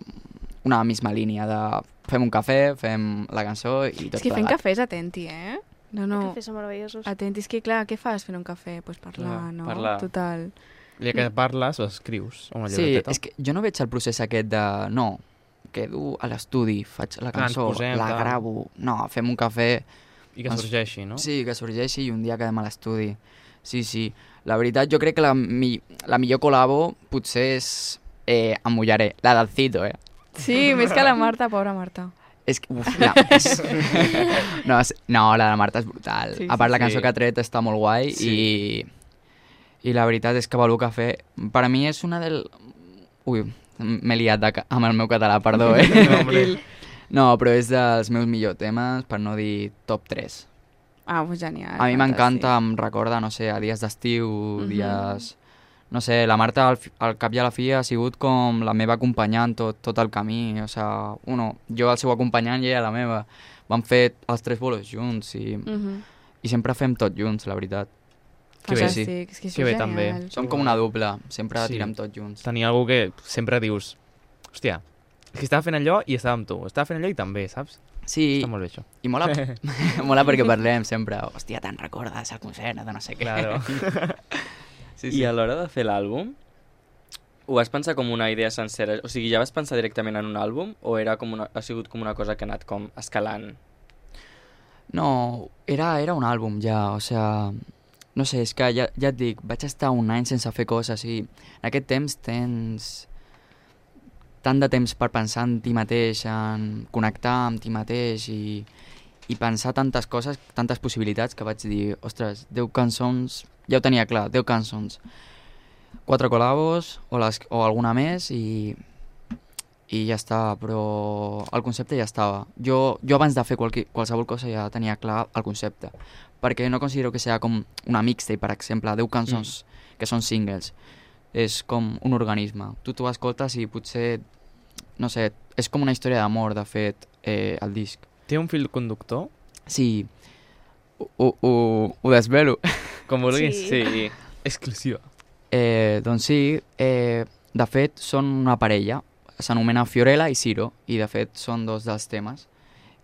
[SPEAKER 6] una misma línia de fem un cafè, fem la cançó i tot
[SPEAKER 5] És que fent
[SPEAKER 6] plegat.
[SPEAKER 5] cafès atenti, eh? No,
[SPEAKER 2] Que
[SPEAKER 5] no.
[SPEAKER 2] fes són meravellosos.
[SPEAKER 5] Atenti, és que clar, què fas fent un cafè? Pues parlar,
[SPEAKER 4] Clar,
[SPEAKER 5] no?
[SPEAKER 4] parlar.
[SPEAKER 5] Total.
[SPEAKER 7] Ja que parles, o escrius a una
[SPEAKER 6] Sí,
[SPEAKER 7] llibreteta.
[SPEAKER 6] és que jo no veig el procés aquest de... No, quedo a l'estudi, faig la
[SPEAKER 7] Ah, ens
[SPEAKER 6] cançó,
[SPEAKER 7] posem,
[SPEAKER 6] la
[SPEAKER 7] tal.
[SPEAKER 6] gravo... No, fem un cafè...
[SPEAKER 7] I que
[SPEAKER 6] ens-
[SPEAKER 7] sorgeixi, no?
[SPEAKER 6] Sí, que sorgeixi i un dia quedem a l'estudi. Sí, sí. La veritat, jo crec que la, mi, la millor col·labo potser és... Eh, em mullaré, la del Cito, eh?
[SPEAKER 5] Sí, més que la Marta, pobra Marta.
[SPEAKER 6] És que, uf, la, és... No, és, no, la de la Marta és brutal.
[SPEAKER 5] Sí,
[SPEAKER 6] Sí, a part,
[SPEAKER 7] sí,
[SPEAKER 6] la
[SPEAKER 7] sí.
[SPEAKER 6] cançó que ha tret està molt guai
[SPEAKER 7] Sí.
[SPEAKER 6] sí. i, i la veritat és que Balú Café per a mi és una del... Ui, m'he liat de, ca- amb el meu català, perdó, eh?
[SPEAKER 7] No, hombre.
[SPEAKER 6] No, però és dels meus millors temes, per no dir top 3.
[SPEAKER 5] Ah, pues genial.
[SPEAKER 6] A mi m'encanta,
[SPEAKER 5] fantàstic. Mhm.
[SPEAKER 6] em recorda, no sé, a dies d'estiu, dies... No sé, la Marta al, fi- al cap i a la fi ha sigut com la meva acompanyant tot, tot el camí. O sigui, uno, jo el seu acompanyant i ella la meva. Vam fer els tres bolos junts i,
[SPEAKER 5] Mhm.
[SPEAKER 6] i sempre fem tot junts, la veritat.
[SPEAKER 7] Que bé,
[SPEAKER 5] Fantàstic, És que, això
[SPEAKER 7] Que
[SPEAKER 5] és genial.
[SPEAKER 7] bé, també.
[SPEAKER 6] Som com una dupla, sempre
[SPEAKER 7] Sí.
[SPEAKER 6] tirem tot junts.
[SPEAKER 7] Tenia algú que sempre dius, hòstia, és que estava fent allò i estava amb tu, estava fent allò i també, saps?
[SPEAKER 6] Sí,
[SPEAKER 7] Està molt bé això.
[SPEAKER 6] i mola, mola perquè parlem sempre. Hòstia, te'n recordes el concert de no sé què.
[SPEAKER 7] Claro.
[SPEAKER 6] Sí,
[SPEAKER 4] I a l'hora de fer l'àlbum, ho vas pensar com una idea sencera? O sigui, ja vas pensar directament en un àlbum o era com una, ha sigut com una cosa que ha anat com escalant?
[SPEAKER 6] No, era, era un àlbum ja, o sea... No sé, és que ja, ja et dic, vaig estar un any sense fer coses i en aquest temps tens tant de temps per pensar en ti mateix, en connectar amb ti mateix i, i pensar tantes coses, tantes possibilitats que vaig dir, ostres, 10 cançons, ja ho tenia clar, 10 cançons, quatre col·labos o, les, o alguna més i, i ja està, però el concepte ja estava. Jo, jo abans de fer qualqui, qualsevol cosa ja tenia clar el concepte, perquè no considero que sigui com una mixtape, per exemple, 10 cançons mm. que són singles. És com un organisme. Tu t'ho escoltes i potser, no sé, és com una història d'amor, de fet, eh, el disc.
[SPEAKER 7] Té un fil conductor,
[SPEAKER 6] Sí, ho, ho, ho, ho desvelo.
[SPEAKER 7] com vulguis.
[SPEAKER 1] Sí.
[SPEAKER 4] Sí,
[SPEAKER 7] Exclusiva.
[SPEAKER 6] Eh, doncs sí, eh, de fet són una parella, s'anomena Fiorella i Ciro, i de fet són dos dels temes.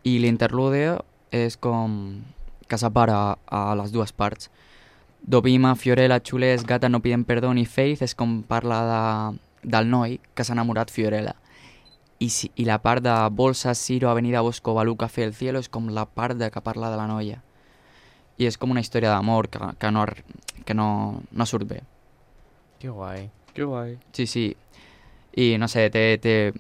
[SPEAKER 6] I l'interlude és com que separa a les dues parts. Dovima, Fiorella, Xulés, Gata, No piden perdó i Faith és com parla de, del noi que s'ha enamorat Fiorella. I, si, I la part de Bolsa, Ciro, Avenida Bosco, Balú, Café, El Cielo és com la part de que parla de la noia. I és com una història d'amor que, que, no, ar- que no, no surt bé.
[SPEAKER 7] Que guai.
[SPEAKER 4] Que guai.
[SPEAKER 6] Sí, sí. I no sé, té, té,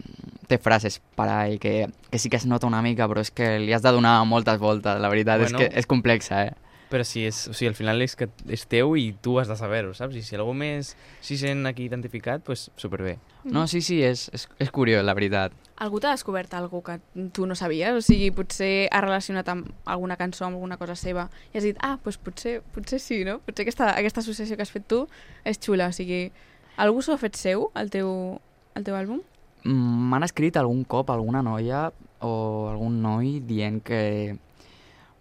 [SPEAKER 6] té frases per ahí que, que sí que es nota una mica, però és que li has de donar moltes voltes, la veritat. Bueno. És
[SPEAKER 7] Bueno.
[SPEAKER 6] que és complexa, eh?
[SPEAKER 7] Però si és, o sigui, al final és que és teu i tu has de saber-ho, saps? I si algú més s'hi sent aquí identificat, doncs pues, superbé.
[SPEAKER 6] No, sí, sí, és, és, és curiós, la veritat.
[SPEAKER 5] Algú t'ha descobert algú que tu no sabies? O sigui, potser ha relacionat amb alguna cançó, amb alguna cosa seva, i has dit, ah, doncs potser, potser sí, no? Potser aquesta, aquesta associació que has fet tu és xula. O sigui, algú s'ho ha fet seu, el teu, el teu àlbum?
[SPEAKER 6] Mm, M'han escrit algun cop alguna noia o algun noi dient que...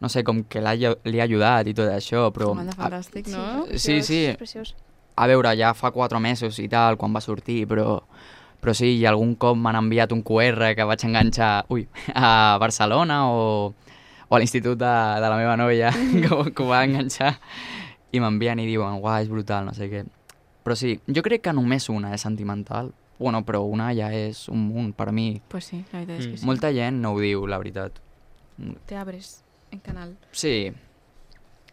[SPEAKER 6] No sé, com que l'ha lle- li ha ajudat i tot això, però...
[SPEAKER 5] Comanda
[SPEAKER 6] A,
[SPEAKER 5] fantàstic, no?
[SPEAKER 6] Sí,
[SPEAKER 2] preciós,
[SPEAKER 6] sí.
[SPEAKER 2] preciós.
[SPEAKER 6] a veure, ja fa quatre mesos i tal, quan va sortir, però... Però sí, i algun cop m'han enviat un QR que vaig enganxar ui, a Barcelona o, o a l'institut de, de la meva noia que, ho- que ho va enganxar i m'envien i diuen, uah, és brutal, no sé què. Però sí, jo crec que només una és sentimental. Bueno, però una ja és un munt per mi.
[SPEAKER 5] Pues sí, la veritat és que
[SPEAKER 4] Mm.
[SPEAKER 5] sí.
[SPEAKER 6] Molta gent no ho diu, la veritat.
[SPEAKER 5] Te abres en canal.
[SPEAKER 6] Sí,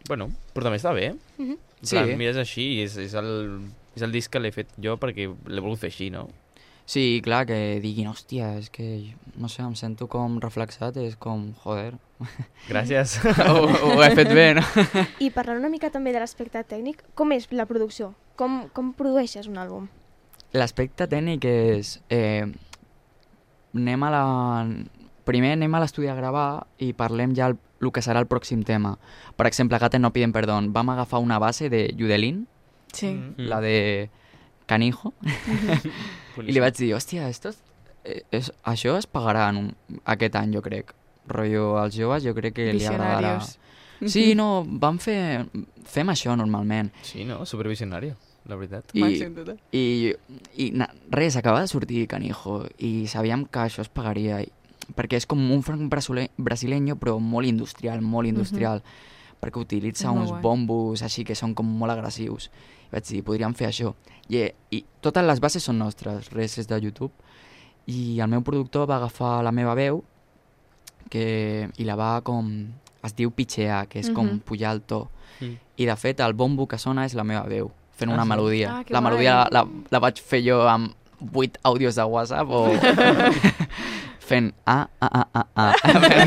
[SPEAKER 7] Bueno, però també està bé. En
[SPEAKER 6] Sí.
[SPEAKER 7] Plan, mires així i és, és, el, és el disc que l'he fet jo perquè l'he volgut fer així, no?
[SPEAKER 6] sí, clar, que diguin, hòstia, és que, no sé, em sento com reflexat, és com, joder,
[SPEAKER 7] Gràcies.
[SPEAKER 6] ho, ho he fet bé, no?
[SPEAKER 2] I parlant una mica també de l'aspecte tècnic, com és la producció? Com, com produeixes un àlbum?
[SPEAKER 6] L'aspecte tècnic és... Eh, anem a la... Primer anem a l'estudi a gravar i parlem ja el, el que serà el pròxim tema. Per exemple, Gaten no piden perdón. Vam agafar una base de Judelin,
[SPEAKER 5] Sí.
[SPEAKER 7] Mm.
[SPEAKER 6] mm. la de Canijo, i li vaig dir, hòstia, esto es, eh, és, això es pagarà en un, aquest any, jo crec. Rollo, als joves jo crec que li agradarà.
[SPEAKER 5] Visionarios.
[SPEAKER 6] Sí, no, vam fer... Fem això normalment.
[SPEAKER 7] Sí, no? Supervisionari, la veritat.
[SPEAKER 6] I, I, i na, res, acaba de sortir Canijo i sabíam que això es pagaria i- perquè és com un franc brasole- brasileño però molt industrial, molt industrial perquè utilitza
[SPEAKER 5] És Mhm. molt
[SPEAKER 6] uns
[SPEAKER 5] guai.
[SPEAKER 6] bombos així que són com molt agressius i vaig dir, podríem fer això I, i totes les bases són nostres, res és de YouTube i el meu productor va agafar la meva veu que, i la va com... es diu pitxear, que és com
[SPEAKER 5] Mhm.
[SPEAKER 6] pujar el to
[SPEAKER 4] Mm.
[SPEAKER 6] i de fet el bombo que sona és la meva veu fent
[SPEAKER 7] Ah,
[SPEAKER 6] una
[SPEAKER 7] sí?
[SPEAKER 6] melodia.
[SPEAKER 5] Ah, que
[SPEAKER 6] la
[SPEAKER 5] guai.
[SPEAKER 6] melodia la, la, la vaig fer jo amb 8 àudios de WhatsApp o fent ah, ah, ah, ah, ah.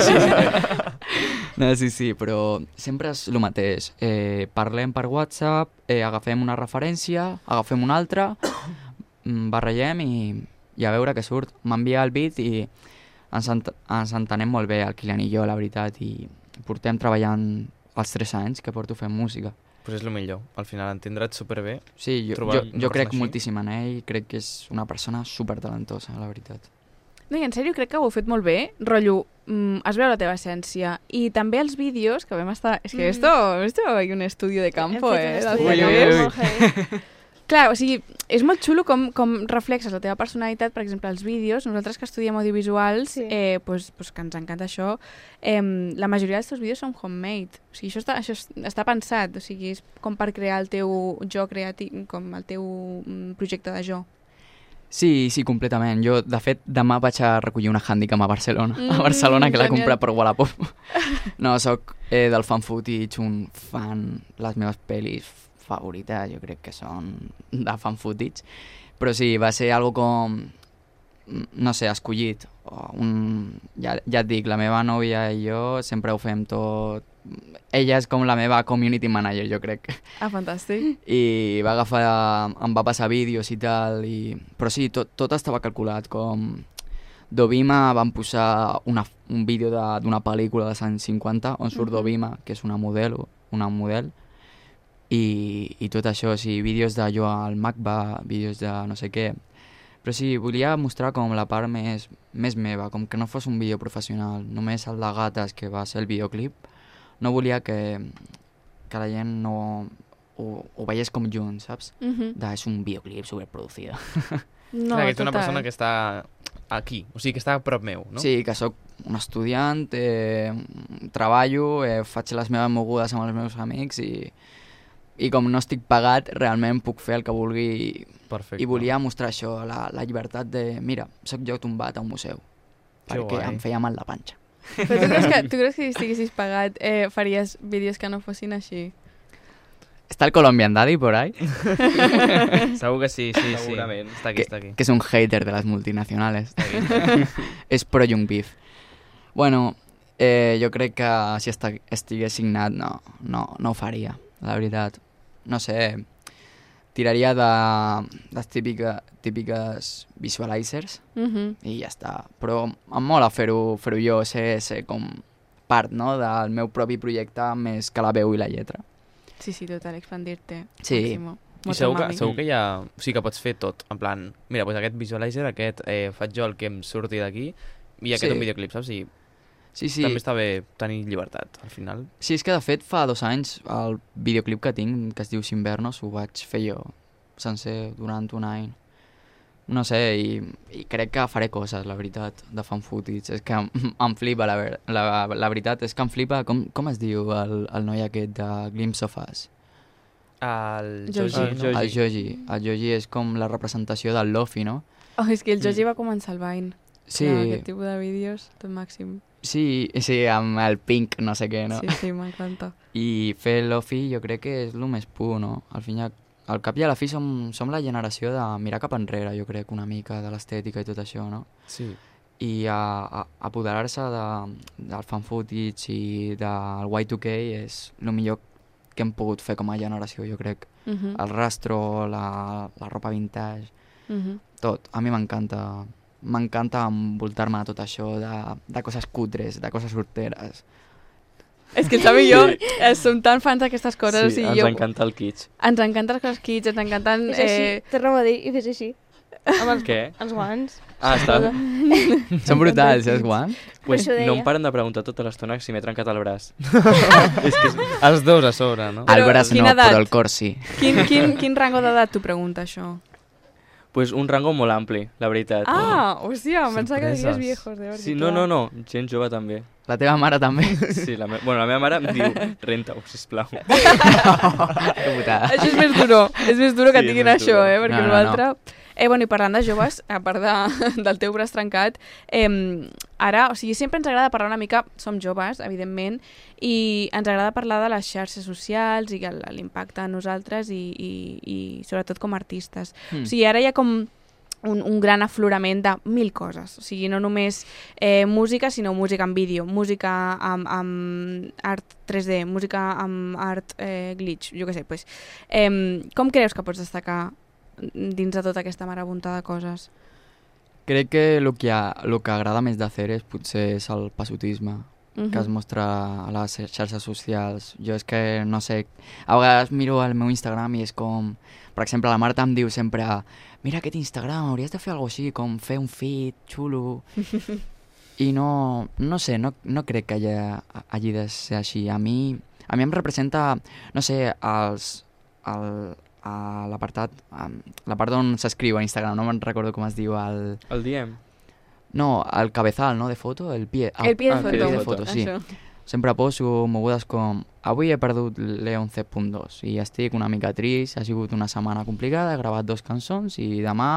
[SPEAKER 6] sí, sí. No, sí, sí, però sempre és el mateix. Eh, parlem per WhatsApp, eh, agafem una referència, agafem una altra, mm, barregem i, i a veure què surt. M'envia el beat i ens, ent ens entenem molt bé, el Kilian i jo, la veritat, i portem treballant els tres anys que porto fent música.
[SPEAKER 7] Pues és el millor. Al final entendre't superbé.
[SPEAKER 6] Sí, jo,
[SPEAKER 7] Trobar
[SPEAKER 6] jo, jo
[SPEAKER 7] una persona
[SPEAKER 6] crec
[SPEAKER 7] així.
[SPEAKER 6] moltíssim en ell, crec que és una persona super talentosa, la veritat.
[SPEAKER 5] No, i en sèrio, crec que ho heu fet molt bé. Rotllo, mm, es veu la teva essència. I també els vídeos, que vam estar... És que
[SPEAKER 2] Mm.
[SPEAKER 5] esto, esto hay un estudio de campo, eh? dels
[SPEAKER 6] estudio de
[SPEAKER 5] vídeos.
[SPEAKER 6] campo.
[SPEAKER 5] Clar, o sigui, és molt xulo com, com reflexes la teva personalitat, per exemple, els vídeos. Nosaltres que estudiem audiovisuals,
[SPEAKER 2] Sí.
[SPEAKER 5] sí. eh, pues, pues que ens encanta això, eh, la majoria dels teus vídeos són homemade. O sigui, això està, això es- està pensat, o sigui, és com per crear el teu jo creatiu, com el teu mm, projecte de jo.
[SPEAKER 6] Sí, sí, completament. Jo, de fet, demà vaig a recollir una Handicam a Barcelona, mm, a Barcelona, que l'he
[SPEAKER 5] genial.
[SPEAKER 6] comprat per Wallapop. No, sóc eh, del fan footage, un fan... Les meves pel·lis favorites, jo crec que són de fan footage. Però sí, va ser algo com... No sé, escollit. O un, ja, ja et dic, la meva nòvia i jo sempre ho fem tot... Ella és com la meva community manager, jo crec
[SPEAKER 5] Ah, fantàstic.
[SPEAKER 6] i va agafar, em va passar vídeos i tal, i... però sí, tot, tot estava calculat, com... Dovima van posar una, un vídeo de- d'una pel·lícula dels anys 50 on surt Dovima, que és una modelo, una model, i, i tot això, sí, vídeos de jo al MacBa, vídeos de no sé què, però sí, volia mostrar com la part més, més meva, com que no fos un vídeo professional, només el de gates que va ser el videoclip, no volia que, que la gent no, ho, ho veiés com junt, saps?
[SPEAKER 5] Uh -huh.
[SPEAKER 6] De, és un videoclip superproducido.
[SPEAKER 5] No,
[SPEAKER 7] No, que ets una
[SPEAKER 5] total.
[SPEAKER 7] persona que està aquí, o sigui, que està a prop meu, no?
[SPEAKER 6] No? Sí, que sóc un estudiant, eh, treballo, eh, faig les meves mogudes amb els meus amics i, i com no estic pagat, realment puc fer el que vulgui i,
[SPEAKER 7] Perfecte.
[SPEAKER 6] i volia mostrar això, la, la llibertat de, mira, sóc jo tombat a un museu,
[SPEAKER 7] Que
[SPEAKER 6] perquè
[SPEAKER 7] guai.
[SPEAKER 6] em feia mal la panxa.
[SPEAKER 5] Però tu creus que, tu creus que si estiguessis pagat eh, faries vídeos que no fossin així?
[SPEAKER 6] Està el Colombian Daddy por ahí,
[SPEAKER 7] Segur que sí, sí, sí.
[SPEAKER 4] Segurament.
[SPEAKER 7] Està aquí, està aquí.
[SPEAKER 6] que és un hater de les multinacionales. és pro Young Beef. Bueno, eh, jo crec que si esta- estigués signat no, no, no ho faria, la veritat. No sé, tiraria de, les típica, típiques visualizers
[SPEAKER 5] Uh -huh.
[SPEAKER 6] i ja està. Però em mola fer-ho fer jo, ser, ser com part no, del meu propi projecte més que la veu i la lletra.
[SPEAKER 5] Sí, sí, total, expandir-te.
[SPEAKER 6] Sí.
[SPEAKER 5] Máximo.
[SPEAKER 7] I segur que,
[SPEAKER 5] Motomami.
[SPEAKER 7] segur que hi ha... O sigui, que pots fer tot. En plan, mira, doncs aquest visualizer, aquest, eh, faig jo el que em surti d'aquí, i aquest
[SPEAKER 6] Sí.
[SPEAKER 7] un videoclip, saps? I
[SPEAKER 6] Sí, sí.
[SPEAKER 7] sí. també està bé tenir llibertat, al final.
[SPEAKER 6] Sí, és que de fet fa dos anys el videoclip que tinc, que es diu Sinvernos, ho vaig fer jo sencer durant un any. No sé, i, i crec que faré coses, la veritat, de fan footage. És que em- em flipa, la, ver la, la veritat, és que em flipa... Com, com es diu el, el noi aquest de Glimpse of Us?
[SPEAKER 7] El
[SPEAKER 5] Joji.
[SPEAKER 7] Joji, no?
[SPEAKER 6] El Joji. El Joji és com la representació del Lofi, no?
[SPEAKER 5] Oh, és que el
[SPEAKER 4] Mm.
[SPEAKER 5] Joji va començar el Vine.
[SPEAKER 6] Sí,
[SPEAKER 5] Clar, aquest tipus de vídeos, tot màxim.
[SPEAKER 6] sí, sí, amb el pink, no sé què, no?
[SPEAKER 5] Sí, sí, m'encanta.
[SPEAKER 6] I fer l'ofi jo crec que és el més pur, no? Al, fin, i al- al cap i a la fi som, som la generació de mirar cap enrere, jo crec, una mica de l'estètica i tot això, no?
[SPEAKER 7] Sí.
[SPEAKER 6] I a, a, apoderar-se de, del fan footage i del Y2K és el millor que hem pogut fer com a generació, jo crec.
[SPEAKER 5] Uh -huh.
[SPEAKER 4] Ah.
[SPEAKER 6] El rastro, la, la ropa vintage,
[SPEAKER 5] Uh -huh.
[SPEAKER 6] tot. A mi m'encanta m'encanta envoltar-me de tot això, de, de coses cutres, de coses sorteres.
[SPEAKER 5] És que el Xavi i jo eh, som tan fans d'aquestes coses.
[SPEAKER 4] sí,
[SPEAKER 5] i
[SPEAKER 4] ens
[SPEAKER 5] jo,
[SPEAKER 4] encanta el kitsch.
[SPEAKER 5] ens encanten les coses kits, ens encanten...
[SPEAKER 2] És així,
[SPEAKER 5] Eh,
[SPEAKER 2] torna a dir, i fes així. Amb els,
[SPEAKER 4] Què?
[SPEAKER 2] els guants.
[SPEAKER 4] Ah, està.
[SPEAKER 6] Són brutals, eh, Juan?
[SPEAKER 4] Pues
[SPEAKER 2] això
[SPEAKER 4] no em
[SPEAKER 2] deia.
[SPEAKER 4] paren de preguntar tota l'estona si m'he trencat el braç.
[SPEAKER 7] És que és... Els dos a sobre, no?
[SPEAKER 5] Però
[SPEAKER 6] El braç no,
[SPEAKER 5] quina edat?
[SPEAKER 6] però el cor sí.
[SPEAKER 5] quin, quin, quin rango d'edat t'ho pregunta, això?
[SPEAKER 4] Pues un rango molt ampli, la veritat.
[SPEAKER 5] Ah, hòstia, em pensava que
[SPEAKER 7] Sorpreses.
[SPEAKER 5] digués viejos, de veritat.
[SPEAKER 4] Sí, no, no, no, gent jove també.
[SPEAKER 6] La teva mare també.
[SPEAKER 4] Sí, la me... bueno, la meva mare em diu, renta-ho, sisplau.
[SPEAKER 6] que putada.
[SPEAKER 5] Això és més duro, és més duro que
[SPEAKER 4] Sí,
[SPEAKER 5] et
[SPEAKER 4] és
[SPEAKER 5] diguin
[SPEAKER 4] més
[SPEAKER 5] això,
[SPEAKER 4] duro.
[SPEAKER 5] eh? Perquè
[SPEAKER 6] No,
[SPEAKER 5] no,
[SPEAKER 6] no,
[SPEAKER 5] l'altre... Eh, bueno, i parlant de joves, a part de, del teu braç trencat, eh, ara, o sigui, sempre ens agrada parlar una mica, som joves, evidentment, i ens agrada parlar de les xarxes socials i el-
[SPEAKER 6] Mm.
[SPEAKER 5] l'impacte a nosaltres i, i, i sobretot com a artistes. Mm. O sigui, ara hi ha com un, un gran aflorament de mil coses. O sigui, no només eh, música, sinó música amb vídeo, música amb, amb art 3D, música amb art eh, glitch, jo què sé. Pues. Eh, com creus que pots destacar dins de tota aquesta marabunta de coses?
[SPEAKER 6] Crec que el que, ha, lo que agrada més de Ceres potser és el passotisme
[SPEAKER 5] Mhm.
[SPEAKER 6] que es mostra a les xarxes socials. Jo és que, no sé, a vegades miro el meu Instagram i és com... Per exemple, la Marta em diu sempre mira aquest Instagram, hauries de fer alguna cosa així, com fer un feed xulo... I no, no sé, no, no crec que hagi, hagi de ser així. A mi, a mi em representa, no sé, els, el, a l'apartat, em, la part on s'escriu a Instagram, no me'n recordo com es diu, el,
[SPEAKER 4] El diem.
[SPEAKER 6] no, el cabezal, no?, de foto, el pie.
[SPEAKER 5] El pie
[SPEAKER 4] ah,
[SPEAKER 5] de foto.
[SPEAKER 4] el pie de
[SPEAKER 6] foto, sí.
[SPEAKER 5] Això.
[SPEAKER 6] Sempre poso mogudes com avui he perdut l'11.2 i estic una mica trist, ha sigut una setmana complicada, he gravat dos cançons i demà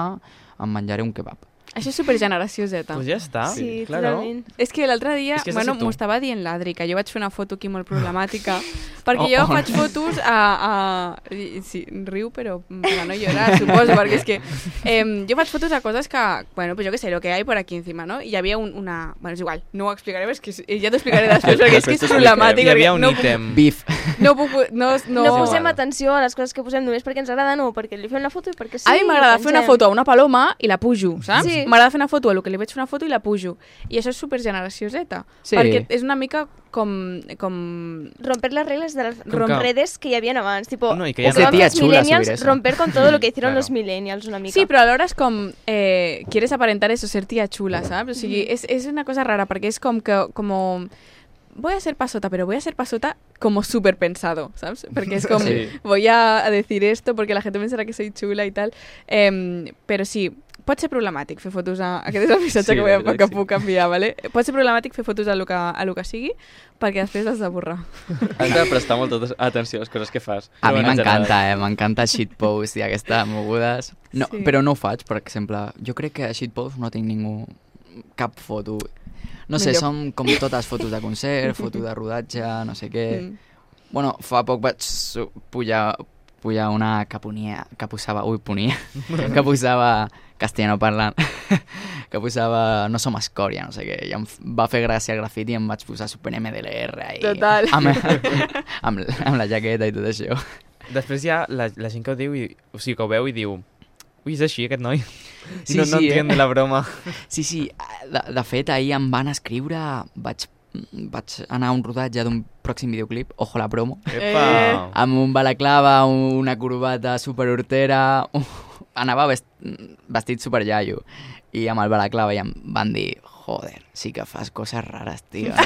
[SPEAKER 6] em menjaré un kebab.
[SPEAKER 5] Això és supergeneració Z.
[SPEAKER 7] Pues ja està.
[SPEAKER 2] Sí,
[SPEAKER 7] Ah, claro.
[SPEAKER 2] totalment.
[SPEAKER 5] És que l'altre dia,
[SPEAKER 7] És que has de
[SPEAKER 5] bueno,
[SPEAKER 7] ser tu.
[SPEAKER 5] m'ho estava dient l'Adri, que jo vaig fer una foto aquí molt problemàtica, perquè
[SPEAKER 6] Oh,
[SPEAKER 5] jo
[SPEAKER 6] oh.
[SPEAKER 5] faig fotos a... a i- sí, riu, però per a no llorar, suposo, perquè és que em, jo faig fotos a coses que, bueno, pues jo què sé, lo que hay por aquí encima, no? I hi havia un, una... Bueno, és igual, no ho explicaré, és que és- ja t'ho explicaré després, perquè és que
[SPEAKER 4] Després
[SPEAKER 5] és
[SPEAKER 4] t'ho
[SPEAKER 5] problemàtic.
[SPEAKER 7] Hi havia un
[SPEAKER 5] perquè
[SPEAKER 7] ítem.
[SPEAKER 6] Bif!
[SPEAKER 5] No, puc- no, puc, no,
[SPEAKER 2] No,
[SPEAKER 5] no,
[SPEAKER 2] no posem
[SPEAKER 7] vale.
[SPEAKER 2] atenció a les coses que posem només perquè ens agraden o perquè li fem la foto i perquè sí.
[SPEAKER 5] a mi m'agrada
[SPEAKER 2] ho
[SPEAKER 5] fer una
[SPEAKER 2] pengem.
[SPEAKER 5] foto a una paloma i la pujo, saps?
[SPEAKER 2] Sí.
[SPEAKER 5] M'agrada fer una foto a lo que li veig fer una foto i la pujo. I això és supergeneració Z.
[SPEAKER 6] Sí.
[SPEAKER 5] Perquè és una mica com... com
[SPEAKER 2] Romper las reglas de las
[SPEAKER 7] que-
[SPEAKER 2] redes que ya habían antes. Tipo,
[SPEAKER 7] No, y que
[SPEAKER 6] ya
[SPEAKER 2] son
[SPEAKER 6] no- Hostia,
[SPEAKER 2] los
[SPEAKER 6] chula
[SPEAKER 2] millennials,
[SPEAKER 6] subir eso.
[SPEAKER 2] romper con todo lo que hicieron
[SPEAKER 7] Claro.
[SPEAKER 2] los millennials, una mica.
[SPEAKER 5] Sí, però alhora és com... Eh, quieres aparentar eso, ser tía chula, saps? O sigui, és, és una cosa rara, perquè és com que... Como, voy a ser pasota, pero voy a ser pasota como súper pensado, ¿sabes? Porque es como,
[SPEAKER 4] Sí.
[SPEAKER 5] voy a a decir esto porque la gente pensará que soy chula y tal. Em, pero sí, pot ser problemàtic fer fotos a... Aquest és el missatge
[SPEAKER 4] Sí,
[SPEAKER 5] que voy a
[SPEAKER 4] la
[SPEAKER 5] poc a
[SPEAKER 4] veritat, sí.
[SPEAKER 5] poc canviar, ¿vale? Pot ser problemàtic fer fotos a lo que, a lo que sigui perquè després has de borrar.
[SPEAKER 4] Has de prestar molta atenció a les coses que fas.
[SPEAKER 6] A mi
[SPEAKER 4] En general.
[SPEAKER 6] m'encanta, eh? M'encanta shitpost i aquestes mogudes. No,
[SPEAKER 5] Sí.
[SPEAKER 6] Però no ho faig, per exemple. Jo crec que a shitpost no tinc ningú... cap foto. No sé,
[SPEAKER 5] Millor.
[SPEAKER 6] són com totes fotos de concert, foto de rodatge, no sé
[SPEAKER 4] Eh,
[SPEAKER 6] què...
[SPEAKER 5] Mm.
[SPEAKER 6] Bueno, fa poc vaig su- pujar, pujar una que ponia, que posava, ui, ponia, que posava castellano parlant, que posava no som escòria, no sé què, i em f- va fer gràcia el grafiti i em vaig posar super MDLR i
[SPEAKER 5] Total.
[SPEAKER 6] Amb, amb, amb, la jaqueta i tot això.
[SPEAKER 7] Després hi ha la, la gent que ho diu, i, o sigui, que ho veu i diu Ui, és així aquest noi?
[SPEAKER 6] Sí,
[SPEAKER 7] no, no
[SPEAKER 6] sí, eh?
[SPEAKER 7] entén la broma.
[SPEAKER 6] Sí, sí, de, de fet ahir em van escriure, vaig, vaig anar a un rodatge d'un pròxim videoclip, ojo la promo,
[SPEAKER 5] Eh,
[SPEAKER 4] Ah,
[SPEAKER 7] Epa!
[SPEAKER 6] amb un balaclava, una corbata superhortera, anava vest vestit superllallo i amb el balaclava i em van dir joder, sí que fas coses rares, tio.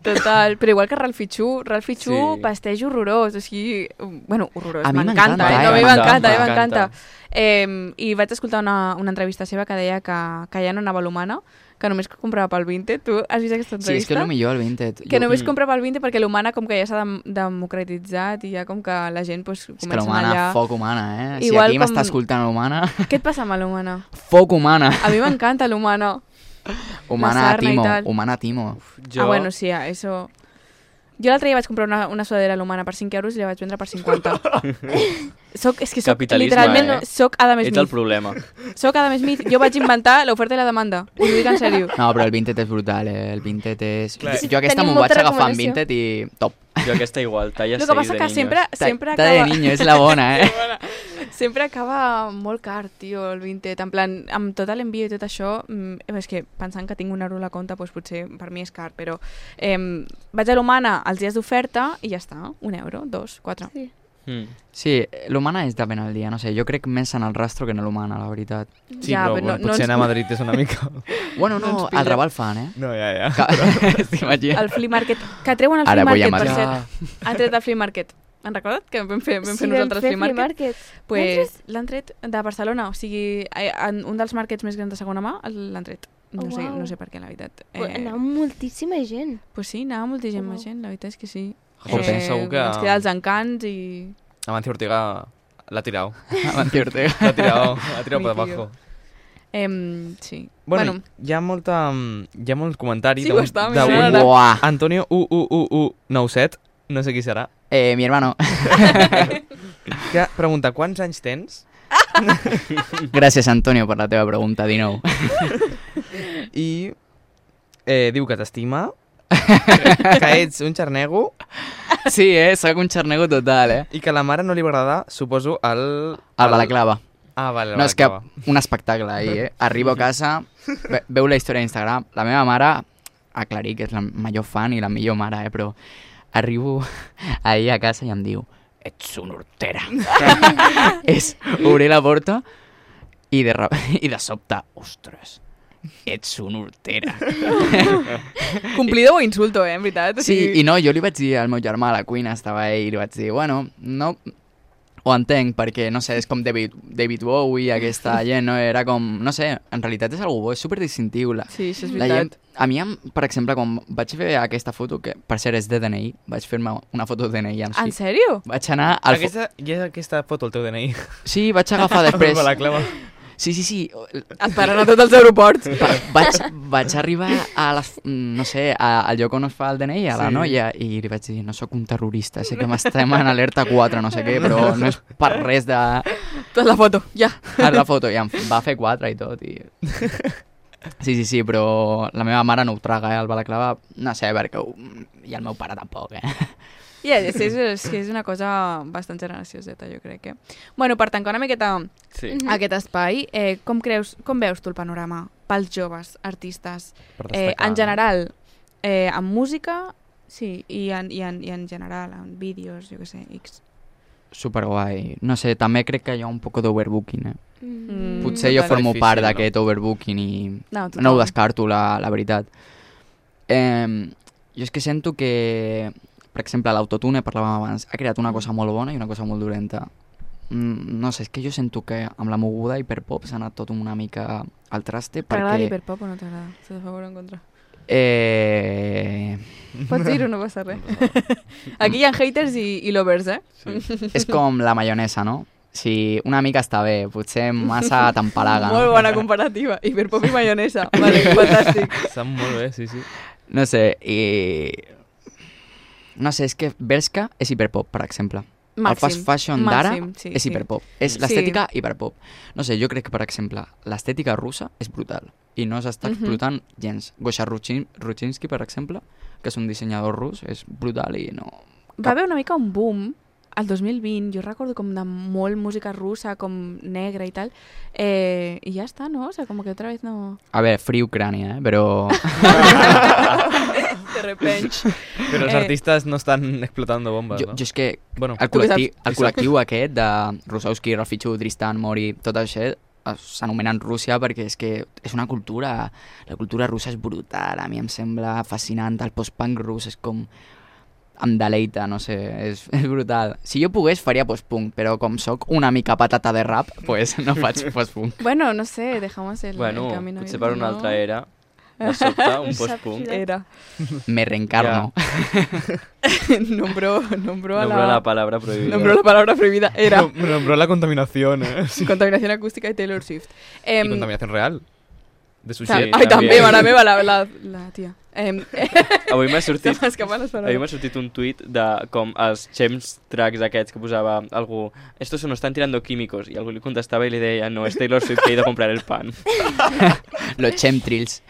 [SPEAKER 5] Total, però igual que Ralph Fichu, Ralph Fichu
[SPEAKER 4] Sí.
[SPEAKER 5] vesteix horrorós, o sigui, um, bueno, horrorós,
[SPEAKER 6] A mi
[SPEAKER 5] m'encanta,
[SPEAKER 6] m'encanta,
[SPEAKER 5] eh?
[SPEAKER 6] eh?
[SPEAKER 5] No, a mi
[SPEAKER 4] M'encanta,
[SPEAKER 5] m'encanta, a mi
[SPEAKER 4] m'encanta.
[SPEAKER 5] m'encanta. Eh, I vaig escoltar una, una entrevista seva que deia que, que ja no anava a l'humana, que només comprava pel 20. Tu has vist aquesta
[SPEAKER 6] Sí, és que
[SPEAKER 5] entrevista?
[SPEAKER 6] és el millor, el Vinted.
[SPEAKER 5] que només
[SPEAKER 4] Mm.
[SPEAKER 5] compra pel 20 perquè l'humana com que ja s'ha dem democratitzat i ja com que la gent
[SPEAKER 6] és
[SPEAKER 5] pues,
[SPEAKER 6] que
[SPEAKER 5] comença a
[SPEAKER 6] l'humana,
[SPEAKER 5] allà.
[SPEAKER 6] foc humana, eh?
[SPEAKER 5] Igual
[SPEAKER 6] si aquí
[SPEAKER 5] com-
[SPEAKER 6] m'està escoltant l'humana,
[SPEAKER 5] Què et passa amb l'humana?
[SPEAKER 6] foc humana.
[SPEAKER 5] A mi m'encanta l'humana.
[SPEAKER 6] Humana
[SPEAKER 5] sarna i
[SPEAKER 6] Timo,
[SPEAKER 5] tal.
[SPEAKER 6] humana Timo.
[SPEAKER 4] Jo,
[SPEAKER 5] Ah, bueno, sí, ah, eso... Jo l'altre dia vaig comprar una, una sudadera a l'humana per 5 euros i la vaig vendre per 50. soc, és que soc,
[SPEAKER 4] Capitalisme,
[SPEAKER 5] literalment,
[SPEAKER 4] eh?
[SPEAKER 5] soc Adam
[SPEAKER 4] ets el
[SPEAKER 5] Smith.
[SPEAKER 4] problema.
[SPEAKER 5] Soc Adam Smith. Jo vaig inventar l'oferta i la demanda. Us ho dic en sèrio.
[SPEAKER 6] No, però el Vinted és brutal, eh? El Vinted és...
[SPEAKER 7] Clar.
[SPEAKER 6] Jo aquesta
[SPEAKER 2] Tenim
[SPEAKER 6] m'ho vaig
[SPEAKER 2] molta
[SPEAKER 6] agafar en
[SPEAKER 2] recomanació.
[SPEAKER 6] Vinted i top.
[SPEAKER 4] Jo aquesta igual, talla
[SPEAKER 5] El
[SPEAKER 4] 6
[SPEAKER 5] que passa
[SPEAKER 4] de
[SPEAKER 5] que
[SPEAKER 4] niños.
[SPEAKER 5] sempre, sempre,
[SPEAKER 6] Ta, ta de
[SPEAKER 5] acaba,
[SPEAKER 6] niño, és la bona, eh?
[SPEAKER 5] sempre acaba molt car, tio, el vintet. En plan, amb tot l'envio i tot això, mm, és que pensant que tinc un euro a la compte, doncs potser per mi és car, però eh, vaig a l'humana els dies d'oferta i ja està, un euro, dos, quatre.
[SPEAKER 2] Sí.
[SPEAKER 4] Mm.
[SPEAKER 6] Sí, eh, l'humana és depèn del dia, no sé, jo crec més en el rastro que en l'humana, la veritat.
[SPEAKER 7] Sí, ja, però, però no,
[SPEAKER 5] no
[SPEAKER 7] potser
[SPEAKER 5] ens-
[SPEAKER 7] anar a Madrid és una mica...
[SPEAKER 6] Bueno, no,
[SPEAKER 5] Doncs
[SPEAKER 6] no
[SPEAKER 5] pilla.
[SPEAKER 6] el Raval fan, eh?
[SPEAKER 7] No, ja, ja.
[SPEAKER 6] T'imagines?
[SPEAKER 5] El flea market, que treuen el
[SPEAKER 6] Ara
[SPEAKER 5] flea
[SPEAKER 6] vull a
[SPEAKER 5] market, per
[SPEAKER 6] Madrid.
[SPEAKER 5] cert. Han tret el flea market. Han recordat que vam fer, vam fer nosaltres flea market? pues, l'han tret de Barcelona, o sigui, eh, en un dels markets més grans de segona mà el- l'han tret. No,
[SPEAKER 2] Oh,
[SPEAKER 5] sé,
[SPEAKER 2] uau.
[SPEAKER 5] no sé per què, la veritat. Eh,
[SPEAKER 2] Pues, anava moltíssima gent.
[SPEAKER 5] pues sí, anava moltíssima
[SPEAKER 2] Uau.
[SPEAKER 5] gent, la veritat és que sí. Eh,
[SPEAKER 6] Jope.
[SPEAKER 7] Segur que-
[SPEAKER 5] Ens queda els encants i...
[SPEAKER 7] Amancio Ortega l'ha tirado.
[SPEAKER 6] Amancio Ortega.
[SPEAKER 7] L'ha tirado, l'ha tirado
[SPEAKER 5] Mi
[SPEAKER 7] per
[SPEAKER 5] tio.
[SPEAKER 7] abajo.
[SPEAKER 5] Em, sí.
[SPEAKER 7] Bueno, bueno, hi ha molta... mm, Hi ha molt comentari
[SPEAKER 5] Sí,
[SPEAKER 7] d'un-
[SPEAKER 5] ho estava
[SPEAKER 7] d'un-
[SPEAKER 5] mirant ara.
[SPEAKER 6] Buah.
[SPEAKER 7] Antonio u, u, u, u, 97, no sé qui serà,
[SPEAKER 6] Eh, mi hermano.
[SPEAKER 7] que pregunta quants anys tens
[SPEAKER 6] Gràcies, Antonio, per la teva pregunta, 19.
[SPEAKER 7] I eh, diu que t'estima, que ets un xarnego
[SPEAKER 6] Sí, eh? Sóc un xarnego total, eh?
[SPEAKER 7] i que a la mare no li va agradar, suposo, el...
[SPEAKER 6] A la clava.
[SPEAKER 7] Ah, vale,
[SPEAKER 6] No, és que un espectacle ahir, eh? Arribo a casa, ve, veu la història d'Instagram, la meva mare, aclarir que és la major fan i la millor mare, eh? Però arribo ahir a casa i em diu ets una hortera. és obrir la porta i de, re- i de sobte, ostres, ets una hortera.
[SPEAKER 5] Complido o insulto, eh, en veritat.
[SPEAKER 6] Sí, i no, jo li vaig dir al meu germà a la cuina, estava ell, i li vaig dir, bueno, no... Ho entenc, perquè, no sé, és com David, David Bowie, aquesta gent, no? Era com... No sé, en realitat és algú bo, és superdistintiu. La,
[SPEAKER 5] Sí, això és
[SPEAKER 6] la gent,
[SPEAKER 5] veritat.
[SPEAKER 6] a mi, em- per exemple, quan vaig fer aquesta foto, que per cert és de DNI, vaig fer-me una foto de DNI amb
[SPEAKER 5] Ah, En
[SPEAKER 6] sí.
[SPEAKER 5] sèrio?
[SPEAKER 6] Vaig anar al... fo-
[SPEAKER 7] Aquesta, ja és aquesta foto, el teu DNI.
[SPEAKER 6] Sí, vaig agafar després...
[SPEAKER 7] Amb la clava.
[SPEAKER 6] Sí, sí, sí,
[SPEAKER 5] Et paren a tots els aeroports.
[SPEAKER 6] Va, vaig, vaig arribar a la, mm, no sé, a, al lloc on es fa el DNI, a la
[SPEAKER 7] Sí.
[SPEAKER 6] noia, i li vaig dir, no sóc un terrorista, sé que m'estem en alerta 4, no sé què, però no és per res de...
[SPEAKER 5] Tota la foto, ja.
[SPEAKER 6] Ara la foto, i em va fer 4 i tot, i... Sí, sí, sí, però la meva mare no ho traga, eh, el balaclava, no sé, perquè ho... i el meu pare tampoc, eh.
[SPEAKER 5] Ja, és, és, és, que és una cosa bastant generacioseta, jo crec que. Bueno, per tancar una miqueta
[SPEAKER 4] Sí.
[SPEAKER 2] Mhm.
[SPEAKER 5] aquest espai, eh, com, creus, com veus tu el panorama pels joves artistes?
[SPEAKER 7] Per
[SPEAKER 5] Eh,
[SPEAKER 7] destacar,
[SPEAKER 5] en general, eh, en música, sí, i en, i en, i en general, en vídeos, jo què sé, X.
[SPEAKER 6] Superguai. No sé, també crec que hi ha un poc d'overbooking, eh.
[SPEAKER 5] Mm,
[SPEAKER 6] Potser jo
[SPEAKER 7] total.
[SPEAKER 6] formo
[SPEAKER 7] Difícil,
[SPEAKER 6] part
[SPEAKER 7] no?
[SPEAKER 6] d'aquest overbooking i
[SPEAKER 5] No,
[SPEAKER 6] No ho descarto, la, la veritat. Eh, jo és que sento que, per exemple, l'autotune, parlàvem abans, ha creat una cosa molt bona i una cosa molt dolenta. Mm, no sé, és que jo sento que amb la moguda hiperpop s'ha anat tot una mica al traste
[SPEAKER 5] T'agrada
[SPEAKER 6] perquè...
[SPEAKER 5] l'hiperpop o no t'agrada? Estàs a favor o en contra?
[SPEAKER 6] Eh,
[SPEAKER 5] Pots dir-ho, no passa res. Aquí hi ha haters i, i lovers, eh?
[SPEAKER 6] és com la maionesa, no? Si una mica està bé, potser massa t'empalaga.
[SPEAKER 5] Molt
[SPEAKER 6] No?
[SPEAKER 5] bona comparativa. Hiperpop i maionesa. Vale, fantàstic.
[SPEAKER 7] Està molt bé, sí, sí.
[SPEAKER 6] no sé, i... No sé, és que Berska és hiperpop, per exemple.
[SPEAKER 5] Màxim.
[SPEAKER 6] El fast fashion d'ara
[SPEAKER 5] Màxim, sí,
[SPEAKER 6] és
[SPEAKER 5] sí.
[SPEAKER 6] hiperpop. És
[SPEAKER 5] Sí.
[SPEAKER 6] l'estètica hiperpop. No sé, jo crec que, per exemple, l'estètica russa és brutal i no s'està
[SPEAKER 5] Mhm.
[SPEAKER 6] explotant gens. Gosha Ruchin- Ruchinsky, per exemple, que és un dissenyador rus, és brutal i no...
[SPEAKER 5] Va haver una mica un boom al 2020, jo recordo com de molt música russa, com negra i tal, eh, i ja està, no? O sea, com que otra vez no...
[SPEAKER 6] A veure, Free Ucrània, eh? però...
[SPEAKER 5] De repente.
[SPEAKER 7] Però els
[SPEAKER 5] Eh.
[SPEAKER 7] artistes no estan explotant bombes,
[SPEAKER 6] jo,
[SPEAKER 7] no?
[SPEAKER 6] jo és que
[SPEAKER 7] Bueno,
[SPEAKER 6] el
[SPEAKER 5] Tu què
[SPEAKER 6] col·lectiu,
[SPEAKER 5] saps?
[SPEAKER 6] el col·lectiu aquest de Rusowski, Rafichu, Tristan, Mori, tot això eh, s'anomenen Rússia perquè és que és una cultura, la cultura russa és brutal, a mi em sembla fascinant, el post-punk rus és com em deleita, no sé, és, és brutal. Si jo pogués faria post-punk, però com sóc una mica patata de rap, pues no faig post-punk.
[SPEAKER 5] Bueno, no sé, dejamos el,
[SPEAKER 4] Bueno,
[SPEAKER 5] el camino.
[SPEAKER 4] potser
[SPEAKER 5] abierto,
[SPEAKER 4] per una
[SPEAKER 5] no?
[SPEAKER 4] altra era, de sobte, un
[SPEAKER 2] No saps
[SPEAKER 4] post-punk,
[SPEAKER 2] res.
[SPEAKER 5] Era.
[SPEAKER 6] Me reencarno.
[SPEAKER 5] nombró, nombró a
[SPEAKER 4] nombró la
[SPEAKER 5] la...
[SPEAKER 4] palabra prohibida.
[SPEAKER 5] Nombró la palabra prohibida. Era
[SPEAKER 7] No, Però, però la contaminació, eh?
[SPEAKER 5] contaminación acústica y Taylor Swift.
[SPEAKER 7] I
[SPEAKER 5] Em,
[SPEAKER 7] contaminació real. De
[SPEAKER 5] tam-
[SPEAKER 7] sushi.
[SPEAKER 4] Sí,
[SPEAKER 5] Ay, también,
[SPEAKER 4] también.
[SPEAKER 5] mare meva, la, la, la tía. Em,
[SPEAKER 4] Avui m'ha
[SPEAKER 5] se
[SPEAKER 4] sortit
[SPEAKER 5] m'ha escapat les
[SPEAKER 4] A mi m'ha
[SPEAKER 5] paraules.
[SPEAKER 4] sortit un tuit de com els champs tracks aquests que posava algú estos se nos están tirando químicos i algú li contestava i li deia no, és Taylor Swift que he ido a comprar el pan.
[SPEAKER 6] Los chemtrails.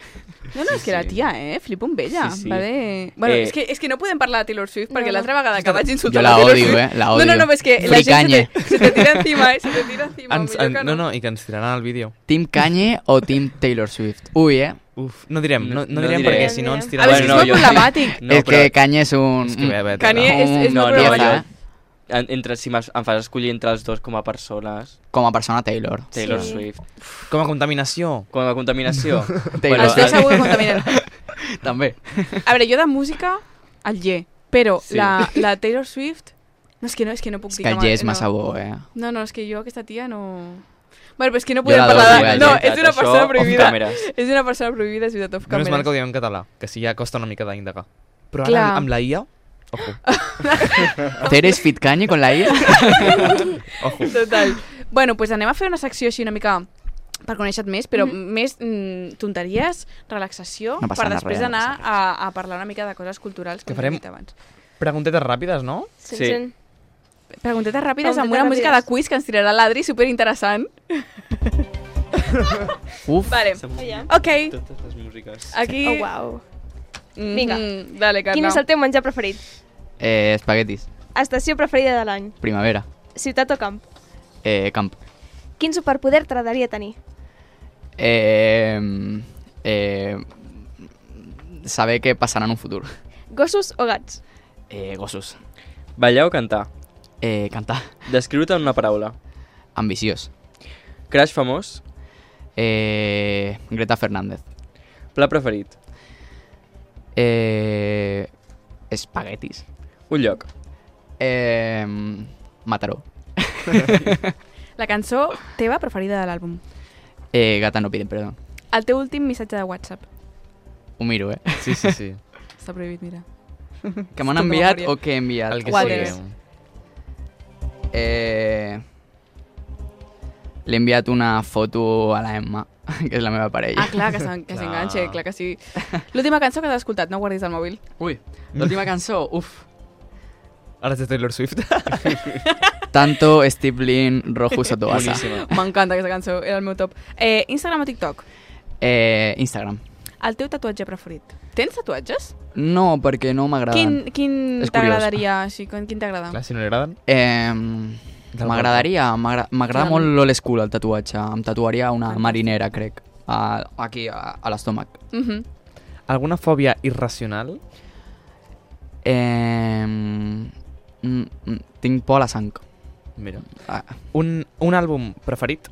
[SPEAKER 5] No, no, és que la tia, eh? Flipo amb ella.
[SPEAKER 4] Sí, sí.
[SPEAKER 5] Va de... Bueno,
[SPEAKER 4] Eh,
[SPEAKER 5] és, que, és que no podem parlar de Taylor Swift perquè
[SPEAKER 2] No, no.
[SPEAKER 5] l'altra vegada que vaig
[SPEAKER 6] Jo
[SPEAKER 5] insultar
[SPEAKER 6] la
[SPEAKER 5] Taylor
[SPEAKER 6] odio,
[SPEAKER 5] Swift...
[SPEAKER 6] eh? La
[SPEAKER 5] No,
[SPEAKER 6] odio.
[SPEAKER 5] no, no, però és que la gent se
[SPEAKER 6] Fricanye.
[SPEAKER 5] te, se te tira encima, eh? Se te tira encima.
[SPEAKER 7] Ens,
[SPEAKER 5] millor
[SPEAKER 7] en,
[SPEAKER 5] que
[SPEAKER 7] no, no, i que ens tiraran el vídeo.
[SPEAKER 6] Team Kanye o Team Taylor Swift? Ui, eh?
[SPEAKER 7] Uf, no direm, no, no,
[SPEAKER 4] No
[SPEAKER 7] direm
[SPEAKER 4] diré.
[SPEAKER 7] perquè si no ens
[SPEAKER 2] A
[SPEAKER 5] A
[SPEAKER 7] tiraran
[SPEAKER 5] veure,
[SPEAKER 4] Bueno,
[SPEAKER 5] si és
[SPEAKER 4] no,
[SPEAKER 5] molt
[SPEAKER 4] jo-
[SPEAKER 5] problemàtic.
[SPEAKER 4] No,
[SPEAKER 6] és que Kanye és un...
[SPEAKER 7] És que bé, bé,
[SPEAKER 5] Kanye
[SPEAKER 7] tela.
[SPEAKER 5] és, és
[SPEAKER 4] No,
[SPEAKER 5] molt
[SPEAKER 4] no, jo-
[SPEAKER 5] problemàtic.
[SPEAKER 6] ¿eh?
[SPEAKER 4] En, entre, si m'has- em fas escollir entre els dos com a persones,
[SPEAKER 6] Com a persona Taylor.
[SPEAKER 4] Taylor
[SPEAKER 2] Sí.
[SPEAKER 4] Swift.
[SPEAKER 7] Com a contaminació.
[SPEAKER 4] Com a contaminació,
[SPEAKER 6] Taylor
[SPEAKER 4] Bueno,
[SPEAKER 5] Estic
[SPEAKER 4] el-
[SPEAKER 5] segur que contaminen.
[SPEAKER 6] també.
[SPEAKER 5] A veure, jo de música, el Ye. Però
[SPEAKER 4] Sí.
[SPEAKER 5] la, la Taylor Swift... No, és que no, és que no puc
[SPEAKER 6] És
[SPEAKER 5] dir
[SPEAKER 6] que el
[SPEAKER 5] mal-
[SPEAKER 6] Jess
[SPEAKER 5] no.
[SPEAKER 6] massa bo, eh?
[SPEAKER 5] No, no, és que jo aquesta tia no... Bueno, però és que no
[SPEAKER 6] Jo
[SPEAKER 5] podem
[SPEAKER 6] l'adoro,
[SPEAKER 5] parlar...
[SPEAKER 6] eh,
[SPEAKER 5] De...
[SPEAKER 6] la
[SPEAKER 5] No,
[SPEAKER 4] veritat,
[SPEAKER 5] és una
[SPEAKER 4] això
[SPEAKER 5] persona
[SPEAKER 4] off
[SPEAKER 5] prohibida.
[SPEAKER 4] càmeres.
[SPEAKER 5] És una persona prohibida, és veritat, off
[SPEAKER 7] Menys mal que
[SPEAKER 5] cameras.
[SPEAKER 7] ho diem en català, que si ja costa una mica d'indagar. Però ara
[SPEAKER 5] Clar.
[SPEAKER 7] amb- amb la IA, ojo,
[SPEAKER 6] Te eres fit Kanye con la IA?
[SPEAKER 7] ojo.
[SPEAKER 5] Total. Bueno, pues anem a fer una secció així una mica per conèixer-te més, però
[SPEAKER 2] Mhm.
[SPEAKER 5] més mm, tonteries, relaxació,
[SPEAKER 6] No passa
[SPEAKER 5] per
[SPEAKER 6] res,
[SPEAKER 5] després
[SPEAKER 6] no
[SPEAKER 5] anar
[SPEAKER 6] passa
[SPEAKER 5] a, a parlar una mica de coses culturals,
[SPEAKER 7] Que
[SPEAKER 5] com
[SPEAKER 7] farem-
[SPEAKER 5] farem... dit abans.
[SPEAKER 7] Preguntetes ràpides, no?
[SPEAKER 4] Sí.
[SPEAKER 2] Sí.
[SPEAKER 5] Preguntetes ràpides amb
[SPEAKER 2] Preguntetes
[SPEAKER 5] una música de
[SPEAKER 2] ràpides.
[SPEAKER 5] quiz que ens tirarà l'Adri, superinteressant.
[SPEAKER 6] Uf,
[SPEAKER 5] Vale, ok.
[SPEAKER 4] Totes les músiques.
[SPEAKER 5] Aquí...
[SPEAKER 2] Oh, wow.
[SPEAKER 5] Mm,
[SPEAKER 2] Vinga.
[SPEAKER 5] Dale, Carla.
[SPEAKER 2] Quin és el teu menjar preferit?
[SPEAKER 6] eh, espaguetis,
[SPEAKER 2] Estació preferida de l'any?
[SPEAKER 6] primavera,
[SPEAKER 2] Ciutat o camp?
[SPEAKER 6] eh, camp.
[SPEAKER 2] Quin superpoder t'agradaria tenir?
[SPEAKER 6] Eh, eh, saber què passarà en un futur.
[SPEAKER 2] Gossos o gats?
[SPEAKER 6] Eh, gossos.
[SPEAKER 4] Ballar o cantar.
[SPEAKER 6] Eh, cantar.
[SPEAKER 4] Descriu-te en una paraula.
[SPEAKER 6] Ambiciós.
[SPEAKER 4] Crash famós.
[SPEAKER 6] Eh, Greta Fernández.
[SPEAKER 4] Pla preferit.
[SPEAKER 6] Eh, espaguetis.
[SPEAKER 4] Un lloc.
[SPEAKER 6] Eh, Mataró.
[SPEAKER 5] La cançó teva preferida de l'àlbum.
[SPEAKER 6] Eh, gata no piden perdó.
[SPEAKER 5] El teu últim missatge de WhatsApp.
[SPEAKER 6] Ho miro, eh.
[SPEAKER 7] Sí, sí, sí.
[SPEAKER 5] Està prohibit, mira.
[SPEAKER 6] Que m'han
[SPEAKER 5] Tota
[SPEAKER 6] enviat
[SPEAKER 5] memòria.
[SPEAKER 6] o que he enviat?
[SPEAKER 7] El que
[SPEAKER 5] Whatever.
[SPEAKER 7] sigueu.
[SPEAKER 6] Eh, L'he enviat una foto a la Emma, que és la meva parella.
[SPEAKER 5] Ah, clar, que s'en- que
[SPEAKER 7] Clar.
[SPEAKER 5] s'enganxe, clar. que sí. L'última cançó que t'has escoltat, no guardis el mòbil.
[SPEAKER 6] Ui, l'última cançó, uf.
[SPEAKER 7] Ara és de Taylor Swift.
[SPEAKER 5] Ah.
[SPEAKER 6] Tanto Steve Lin, Rojo Sotobasa.
[SPEAKER 4] Boníssima.
[SPEAKER 5] M'encanta aquesta cançó, era el meu top. Eh, Instagram o TikTok?
[SPEAKER 6] Eh, Instagram.
[SPEAKER 5] El teu tatuatge preferit. Tens tatuatges?
[SPEAKER 6] No, perquè no m'agrada.
[SPEAKER 5] Quin, quin
[SPEAKER 6] És curiós.
[SPEAKER 5] t'agradaria? Sí, quin quin t'agrada?
[SPEAKER 7] Clar, si no li agraden.
[SPEAKER 6] Eh,
[SPEAKER 7] Del
[SPEAKER 6] m'agradaria, m'agra- m'agrada
[SPEAKER 5] Clar.
[SPEAKER 6] molt l'old school el tatuatge. Em tatuaria una
[SPEAKER 5] Fantàstic.
[SPEAKER 6] marinera, crec. A, aquí, a, a l'estómac.
[SPEAKER 5] Uh -huh.
[SPEAKER 7] Alguna fòbia irracional?
[SPEAKER 6] Eh, mm, mm, tinc por a la sang.
[SPEAKER 7] Mira.
[SPEAKER 6] Ah,
[SPEAKER 7] Un, un àlbum preferit?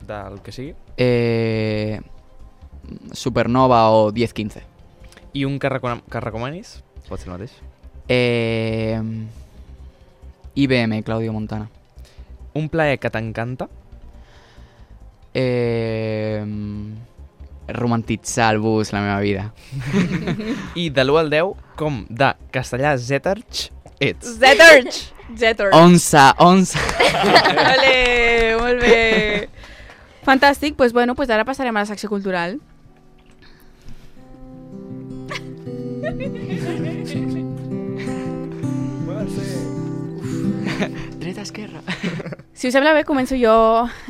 [SPEAKER 7] Del que sigui.
[SPEAKER 6] Eh, Supernova o 10-15.
[SPEAKER 7] I un que, recona- que recomanis? Pot ser el mateix.
[SPEAKER 6] Eh, IBM, Claudio Montana.
[SPEAKER 7] Un plaer que t'encanta?
[SPEAKER 6] Eh, romantitzar el bus, la meva vida.
[SPEAKER 7] I de l'1 al 10, com de castellà Zetarch ets?
[SPEAKER 5] Zetorch! Zetorch.
[SPEAKER 6] Onza, onza.
[SPEAKER 5] Ole, molt bé. Fantàstic, doncs bueno, doncs ara passarem a la secció cultural.
[SPEAKER 6] Dreta, esquerra.
[SPEAKER 5] Si us sembla bé, començo jo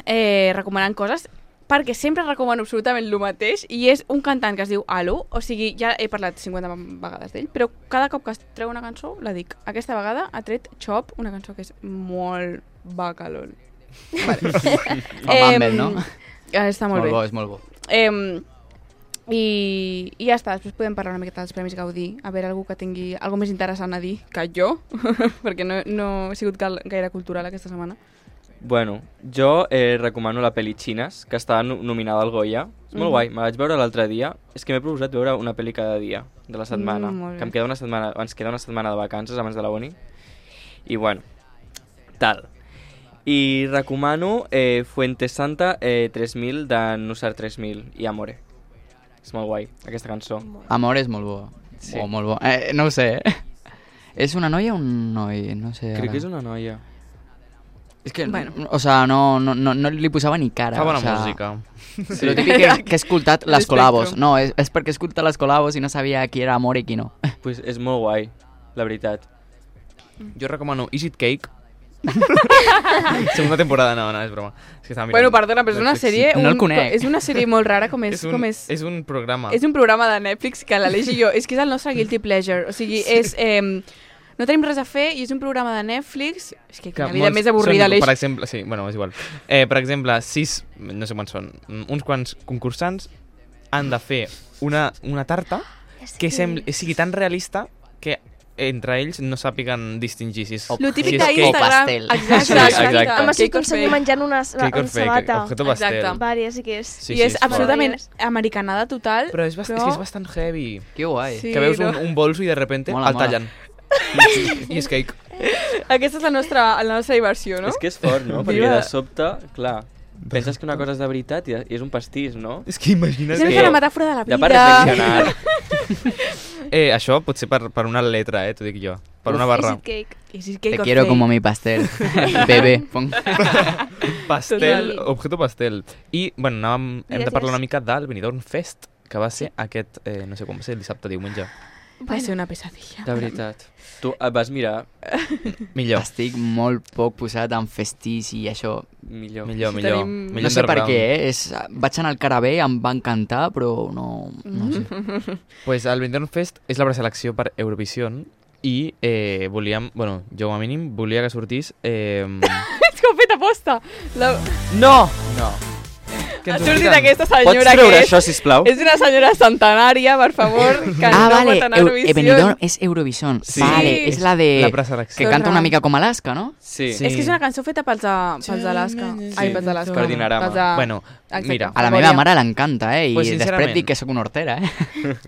[SPEAKER 5] eh, recomanant coses perquè sempre recomano absolutament el mateix i és un cantant que es diu Alu, o sigui, ja he parlat 50 vegades d'ell, però cada cop que es treu una cançó la dic. Aquesta vegada ha tret Chop, una cançó que és molt bacalol.
[SPEAKER 6] Fa Mumble, no?
[SPEAKER 5] Eh, està molt,
[SPEAKER 6] molt
[SPEAKER 5] bé.
[SPEAKER 6] bo, és molt bo.
[SPEAKER 5] Eh, i, I ja està, després podem parlar una miqueta dels Premis Gaudí, a veure algú que tingui alguna més interessant a dir que jo, perquè no, no he sigut gal- gaire cultural aquesta setmana.
[SPEAKER 4] Bueno, jo eh, recomano la pel·li Xines, que està no- nominada al Goya. És molt
[SPEAKER 5] Mhm.
[SPEAKER 4] guai, me la vaig veure l'altre dia. És que m'he proposat veure una pel·li cada dia de la setmana.
[SPEAKER 5] Mm, molt bé.
[SPEAKER 4] que em queda una setmana, ens queda una setmana de vacances abans de la uni. I bueno, tal. I recomano eh, Fuente Santa eh, 3000 de Nusar 3000 i Amore. És molt guai, aquesta cançó.
[SPEAKER 2] Ah,
[SPEAKER 6] Amor és molt bo.
[SPEAKER 4] Sí.
[SPEAKER 6] O molt bo. Eh, no ho sé. És una noia o un noi? No sé.
[SPEAKER 4] Crec
[SPEAKER 6] ara.
[SPEAKER 4] que és una noia.
[SPEAKER 6] És que,
[SPEAKER 5] Bueno.
[SPEAKER 6] bueno. o sea, no, no, no, no li posava ni cara.
[SPEAKER 7] Fa bona
[SPEAKER 6] o sea,
[SPEAKER 7] música.
[SPEAKER 6] Sí. Lo típic que, que he escoltat les
[SPEAKER 5] L'espectro.
[SPEAKER 6] col·labos. No, és, és perquè he escoltat les col·labos i no sabia qui era Amor i qui no.
[SPEAKER 4] Pues és molt guai, la veritat.
[SPEAKER 7] Jo recomano Is It Cake? Segunda temporada, no, no, és broma. És que estava mirant
[SPEAKER 5] Bueno, perdona, però és una
[SPEAKER 7] Netflix.
[SPEAKER 5] sèrie...
[SPEAKER 6] No el conec.
[SPEAKER 5] És una sèrie molt rara, com és...
[SPEAKER 7] És un,
[SPEAKER 5] com és,
[SPEAKER 7] és un programa.
[SPEAKER 5] és un programa de Netflix que l'Aleix i jo... És que és el nostre guilty pleasure. O sigui, és... Eh, no tenim res a fer i és un programa de Netflix... És que, la vida
[SPEAKER 7] molts
[SPEAKER 5] més avorrida,
[SPEAKER 7] són,
[SPEAKER 5] Aleix.
[SPEAKER 7] Per exemple, sí, bueno, és igual. Eh, per exemple, sis, no sé quants són, mm, uns quants concursants han de fer una, una tarta que sembli, sigui tan realista que entre ells no sàpiguen distingir si és...
[SPEAKER 6] O
[SPEAKER 5] Lo típic
[SPEAKER 7] si és cake o
[SPEAKER 5] d'Instagram...
[SPEAKER 6] pastel.
[SPEAKER 5] Exacte,
[SPEAKER 4] Sí,
[SPEAKER 5] exacte.
[SPEAKER 4] exacte.
[SPEAKER 5] Cake
[SPEAKER 4] Home,
[SPEAKER 2] Home, si
[SPEAKER 5] or
[SPEAKER 2] un senyor
[SPEAKER 5] fake.
[SPEAKER 2] menjant una,
[SPEAKER 7] Cake
[SPEAKER 2] una
[SPEAKER 7] or fake,
[SPEAKER 2] sabata.
[SPEAKER 7] objeto pastel.
[SPEAKER 5] Exacte.
[SPEAKER 2] Vàries, sí que és.
[SPEAKER 7] Sí,
[SPEAKER 5] I és
[SPEAKER 7] sí,
[SPEAKER 5] absolutament
[SPEAKER 2] molt
[SPEAKER 5] americanada total.
[SPEAKER 7] Però és, bast... és, que és bastant heavy.
[SPEAKER 6] Que guai.
[SPEAKER 5] Sí,
[SPEAKER 7] que veus
[SPEAKER 5] no?
[SPEAKER 7] un, un bolso i de repente
[SPEAKER 6] Mola,
[SPEAKER 7] el
[SPEAKER 6] mola.
[SPEAKER 7] tallen. I és cake.
[SPEAKER 5] Aquesta és la nostra, la nostra diversió, no?
[SPEAKER 4] És que és fort, no? Perquè
[SPEAKER 5] Viva.
[SPEAKER 4] de sobte, clar, penses que una cosa és de veritat i, i és un pastís, no?
[SPEAKER 7] És que
[SPEAKER 5] És
[SPEAKER 7] imagina't
[SPEAKER 5] una
[SPEAKER 4] que-
[SPEAKER 5] mica la metàfora de la vida.
[SPEAKER 4] De part reflexionar.
[SPEAKER 7] Eh, això pot ser per, per una letra, eh, t'ho dic jo. Per una barra.
[SPEAKER 2] Easy cake.
[SPEAKER 5] Is it cake
[SPEAKER 6] Te
[SPEAKER 5] or
[SPEAKER 6] quiero
[SPEAKER 5] fake?
[SPEAKER 6] como mi pastel. Bebé. Pon...
[SPEAKER 7] Pastel,
[SPEAKER 5] Total.
[SPEAKER 7] objeto pastel. I, bueno, anàvem, hem de
[SPEAKER 2] Gràcies.
[SPEAKER 7] parlar una mica del Benidorm Fest, que va ser aquest, eh, no sé quan va ser, dissabte, diumenge.
[SPEAKER 5] Va ser una pesadilla.
[SPEAKER 6] De veritat.
[SPEAKER 4] Tu et vas mirar
[SPEAKER 7] Millor,
[SPEAKER 6] Estic molt poc posat en festís i això.
[SPEAKER 4] millor.
[SPEAKER 7] millor,
[SPEAKER 5] Sí,
[SPEAKER 7] millor.
[SPEAKER 5] tenim-
[SPEAKER 7] millor
[SPEAKER 6] no sé per
[SPEAKER 7] underground.
[SPEAKER 6] què, eh? És, vaig anar al Carabé, em va encantar, però no, no sé.
[SPEAKER 5] Mm-hmm.
[SPEAKER 7] pues el 21 Fest és la preselecció per Eurovisió i eh, volíem, bueno, jo com a mínim volia que sortís... Eh...
[SPEAKER 5] És com fet aposta. La...
[SPEAKER 7] no! No. Que
[SPEAKER 5] Ha
[SPEAKER 7] ens ho
[SPEAKER 5] sortit
[SPEAKER 7] expliquen.
[SPEAKER 5] aquesta
[SPEAKER 4] Pots
[SPEAKER 5] senyora que
[SPEAKER 4] treure
[SPEAKER 5] és...
[SPEAKER 4] això,
[SPEAKER 7] Oh.
[SPEAKER 4] sisplau?
[SPEAKER 5] És una senyora centenària, per favor, que
[SPEAKER 7] Ah,
[SPEAKER 5] no pot anar
[SPEAKER 6] Ah,
[SPEAKER 5] a
[SPEAKER 6] Eu-
[SPEAKER 5] Eurovisió.
[SPEAKER 6] Benidorm és Eurovision.
[SPEAKER 7] Sí.
[SPEAKER 6] Vale, és la de...
[SPEAKER 7] La preselecció.
[SPEAKER 6] que
[SPEAKER 5] Tot
[SPEAKER 6] canta una
[SPEAKER 5] ram.
[SPEAKER 6] mica com Alaska, no?
[SPEAKER 4] Sí.
[SPEAKER 7] Sí.
[SPEAKER 5] És que és una cançó feta pels, a, pels d'Alaska. Ai, pels d'Alaska.
[SPEAKER 4] per Dinarama.
[SPEAKER 5] Pels de-
[SPEAKER 7] Bueno,
[SPEAKER 5] Exacte.
[SPEAKER 7] mira,
[SPEAKER 6] A la
[SPEAKER 5] Memòria.
[SPEAKER 6] meva mare l'encanta, eh? I
[SPEAKER 7] Pues,
[SPEAKER 6] després
[SPEAKER 7] sincerament.
[SPEAKER 6] dic que sóc una hortera, eh?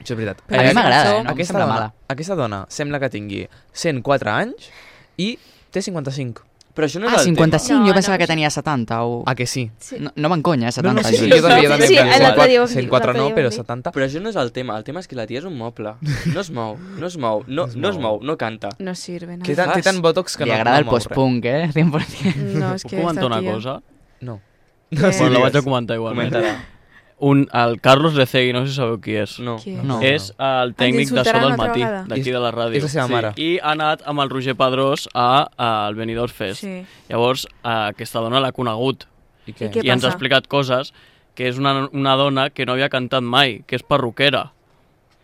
[SPEAKER 7] això és veritat.
[SPEAKER 6] A mi
[SPEAKER 5] aquesta
[SPEAKER 6] m'agrada,
[SPEAKER 5] cançó-
[SPEAKER 6] eh? No em
[SPEAKER 7] aquesta,
[SPEAKER 6] sembla
[SPEAKER 7] dona,
[SPEAKER 6] mala.
[SPEAKER 7] aquesta dona sembla que tingui 104 anys i té 55.
[SPEAKER 4] Però això no és
[SPEAKER 6] Ah,
[SPEAKER 4] el
[SPEAKER 6] 55,
[SPEAKER 2] No,
[SPEAKER 6] jo pensava
[SPEAKER 2] no.
[SPEAKER 6] que tenia 70 o...
[SPEAKER 7] A que sí?
[SPEAKER 6] No, no me'n conya, 70.
[SPEAKER 7] sí,
[SPEAKER 6] jo-
[SPEAKER 7] sí, jo també, jo també.
[SPEAKER 2] Sí,
[SPEAKER 7] penso
[SPEAKER 2] el
[SPEAKER 7] igual.
[SPEAKER 2] altre dia ho vam dir,
[SPEAKER 7] 104
[SPEAKER 2] l'altre
[SPEAKER 7] no,
[SPEAKER 2] dia ho vam
[SPEAKER 7] però
[SPEAKER 2] dir.
[SPEAKER 7] 70.
[SPEAKER 4] tema. Però això no és el tema. El tema és que la tia és un moble. No es mou, no es mou, no,
[SPEAKER 7] No es
[SPEAKER 4] no es
[SPEAKER 7] mou.
[SPEAKER 4] mou, no canta.
[SPEAKER 5] No sirve, no.
[SPEAKER 7] Té tan, té tan botox que
[SPEAKER 6] Li
[SPEAKER 7] no,
[SPEAKER 6] agrada
[SPEAKER 7] no
[SPEAKER 6] el
[SPEAKER 7] mou res.
[SPEAKER 6] post-punk, eh? 100%.
[SPEAKER 5] No, és
[SPEAKER 8] Puc
[SPEAKER 5] que
[SPEAKER 8] comentar
[SPEAKER 5] esta
[SPEAKER 8] una
[SPEAKER 5] tia-
[SPEAKER 8] cosa?
[SPEAKER 7] No.
[SPEAKER 5] Que-
[SPEAKER 8] Bueno, la
[SPEAKER 7] digues.
[SPEAKER 8] vaig a comentar igualment.
[SPEAKER 4] Comentarà.
[SPEAKER 8] Un, el Carlos Lecegui, no sé si sabeu qui és.
[SPEAKER 4] No.
[SPEAKER 5] Qui
[SPEAKER 6] No.
[SPEAKER 8] És el tècnic de so
[SPEAKER 5] insultaran
[SPEAKER 8] del
[SPEAKER 5] una altra
[SPEAKER 8] matí,
[SPEAKER 5] vegada.
[SPEAKER 8] d'aquí de la ràdio.
[SPEAKER 7] És la seva mare.
[SPEAKER 8] I ha anat amb el Roger Pedrós a, al Benidorm Fest.
[SPEAKER 5] Sí.
[SPEAKER 8] Llavors, eh, aquesta dona l'ha conegut
[SPEAKER 7] I què?
[SPEAKER 5] I què
[SPEAKER 8] i ens ha
[SPEAKER 5] passa?
[SPEAKER 8] explicat coses que és una, una dona que no havia cantat mai, que és perruquera.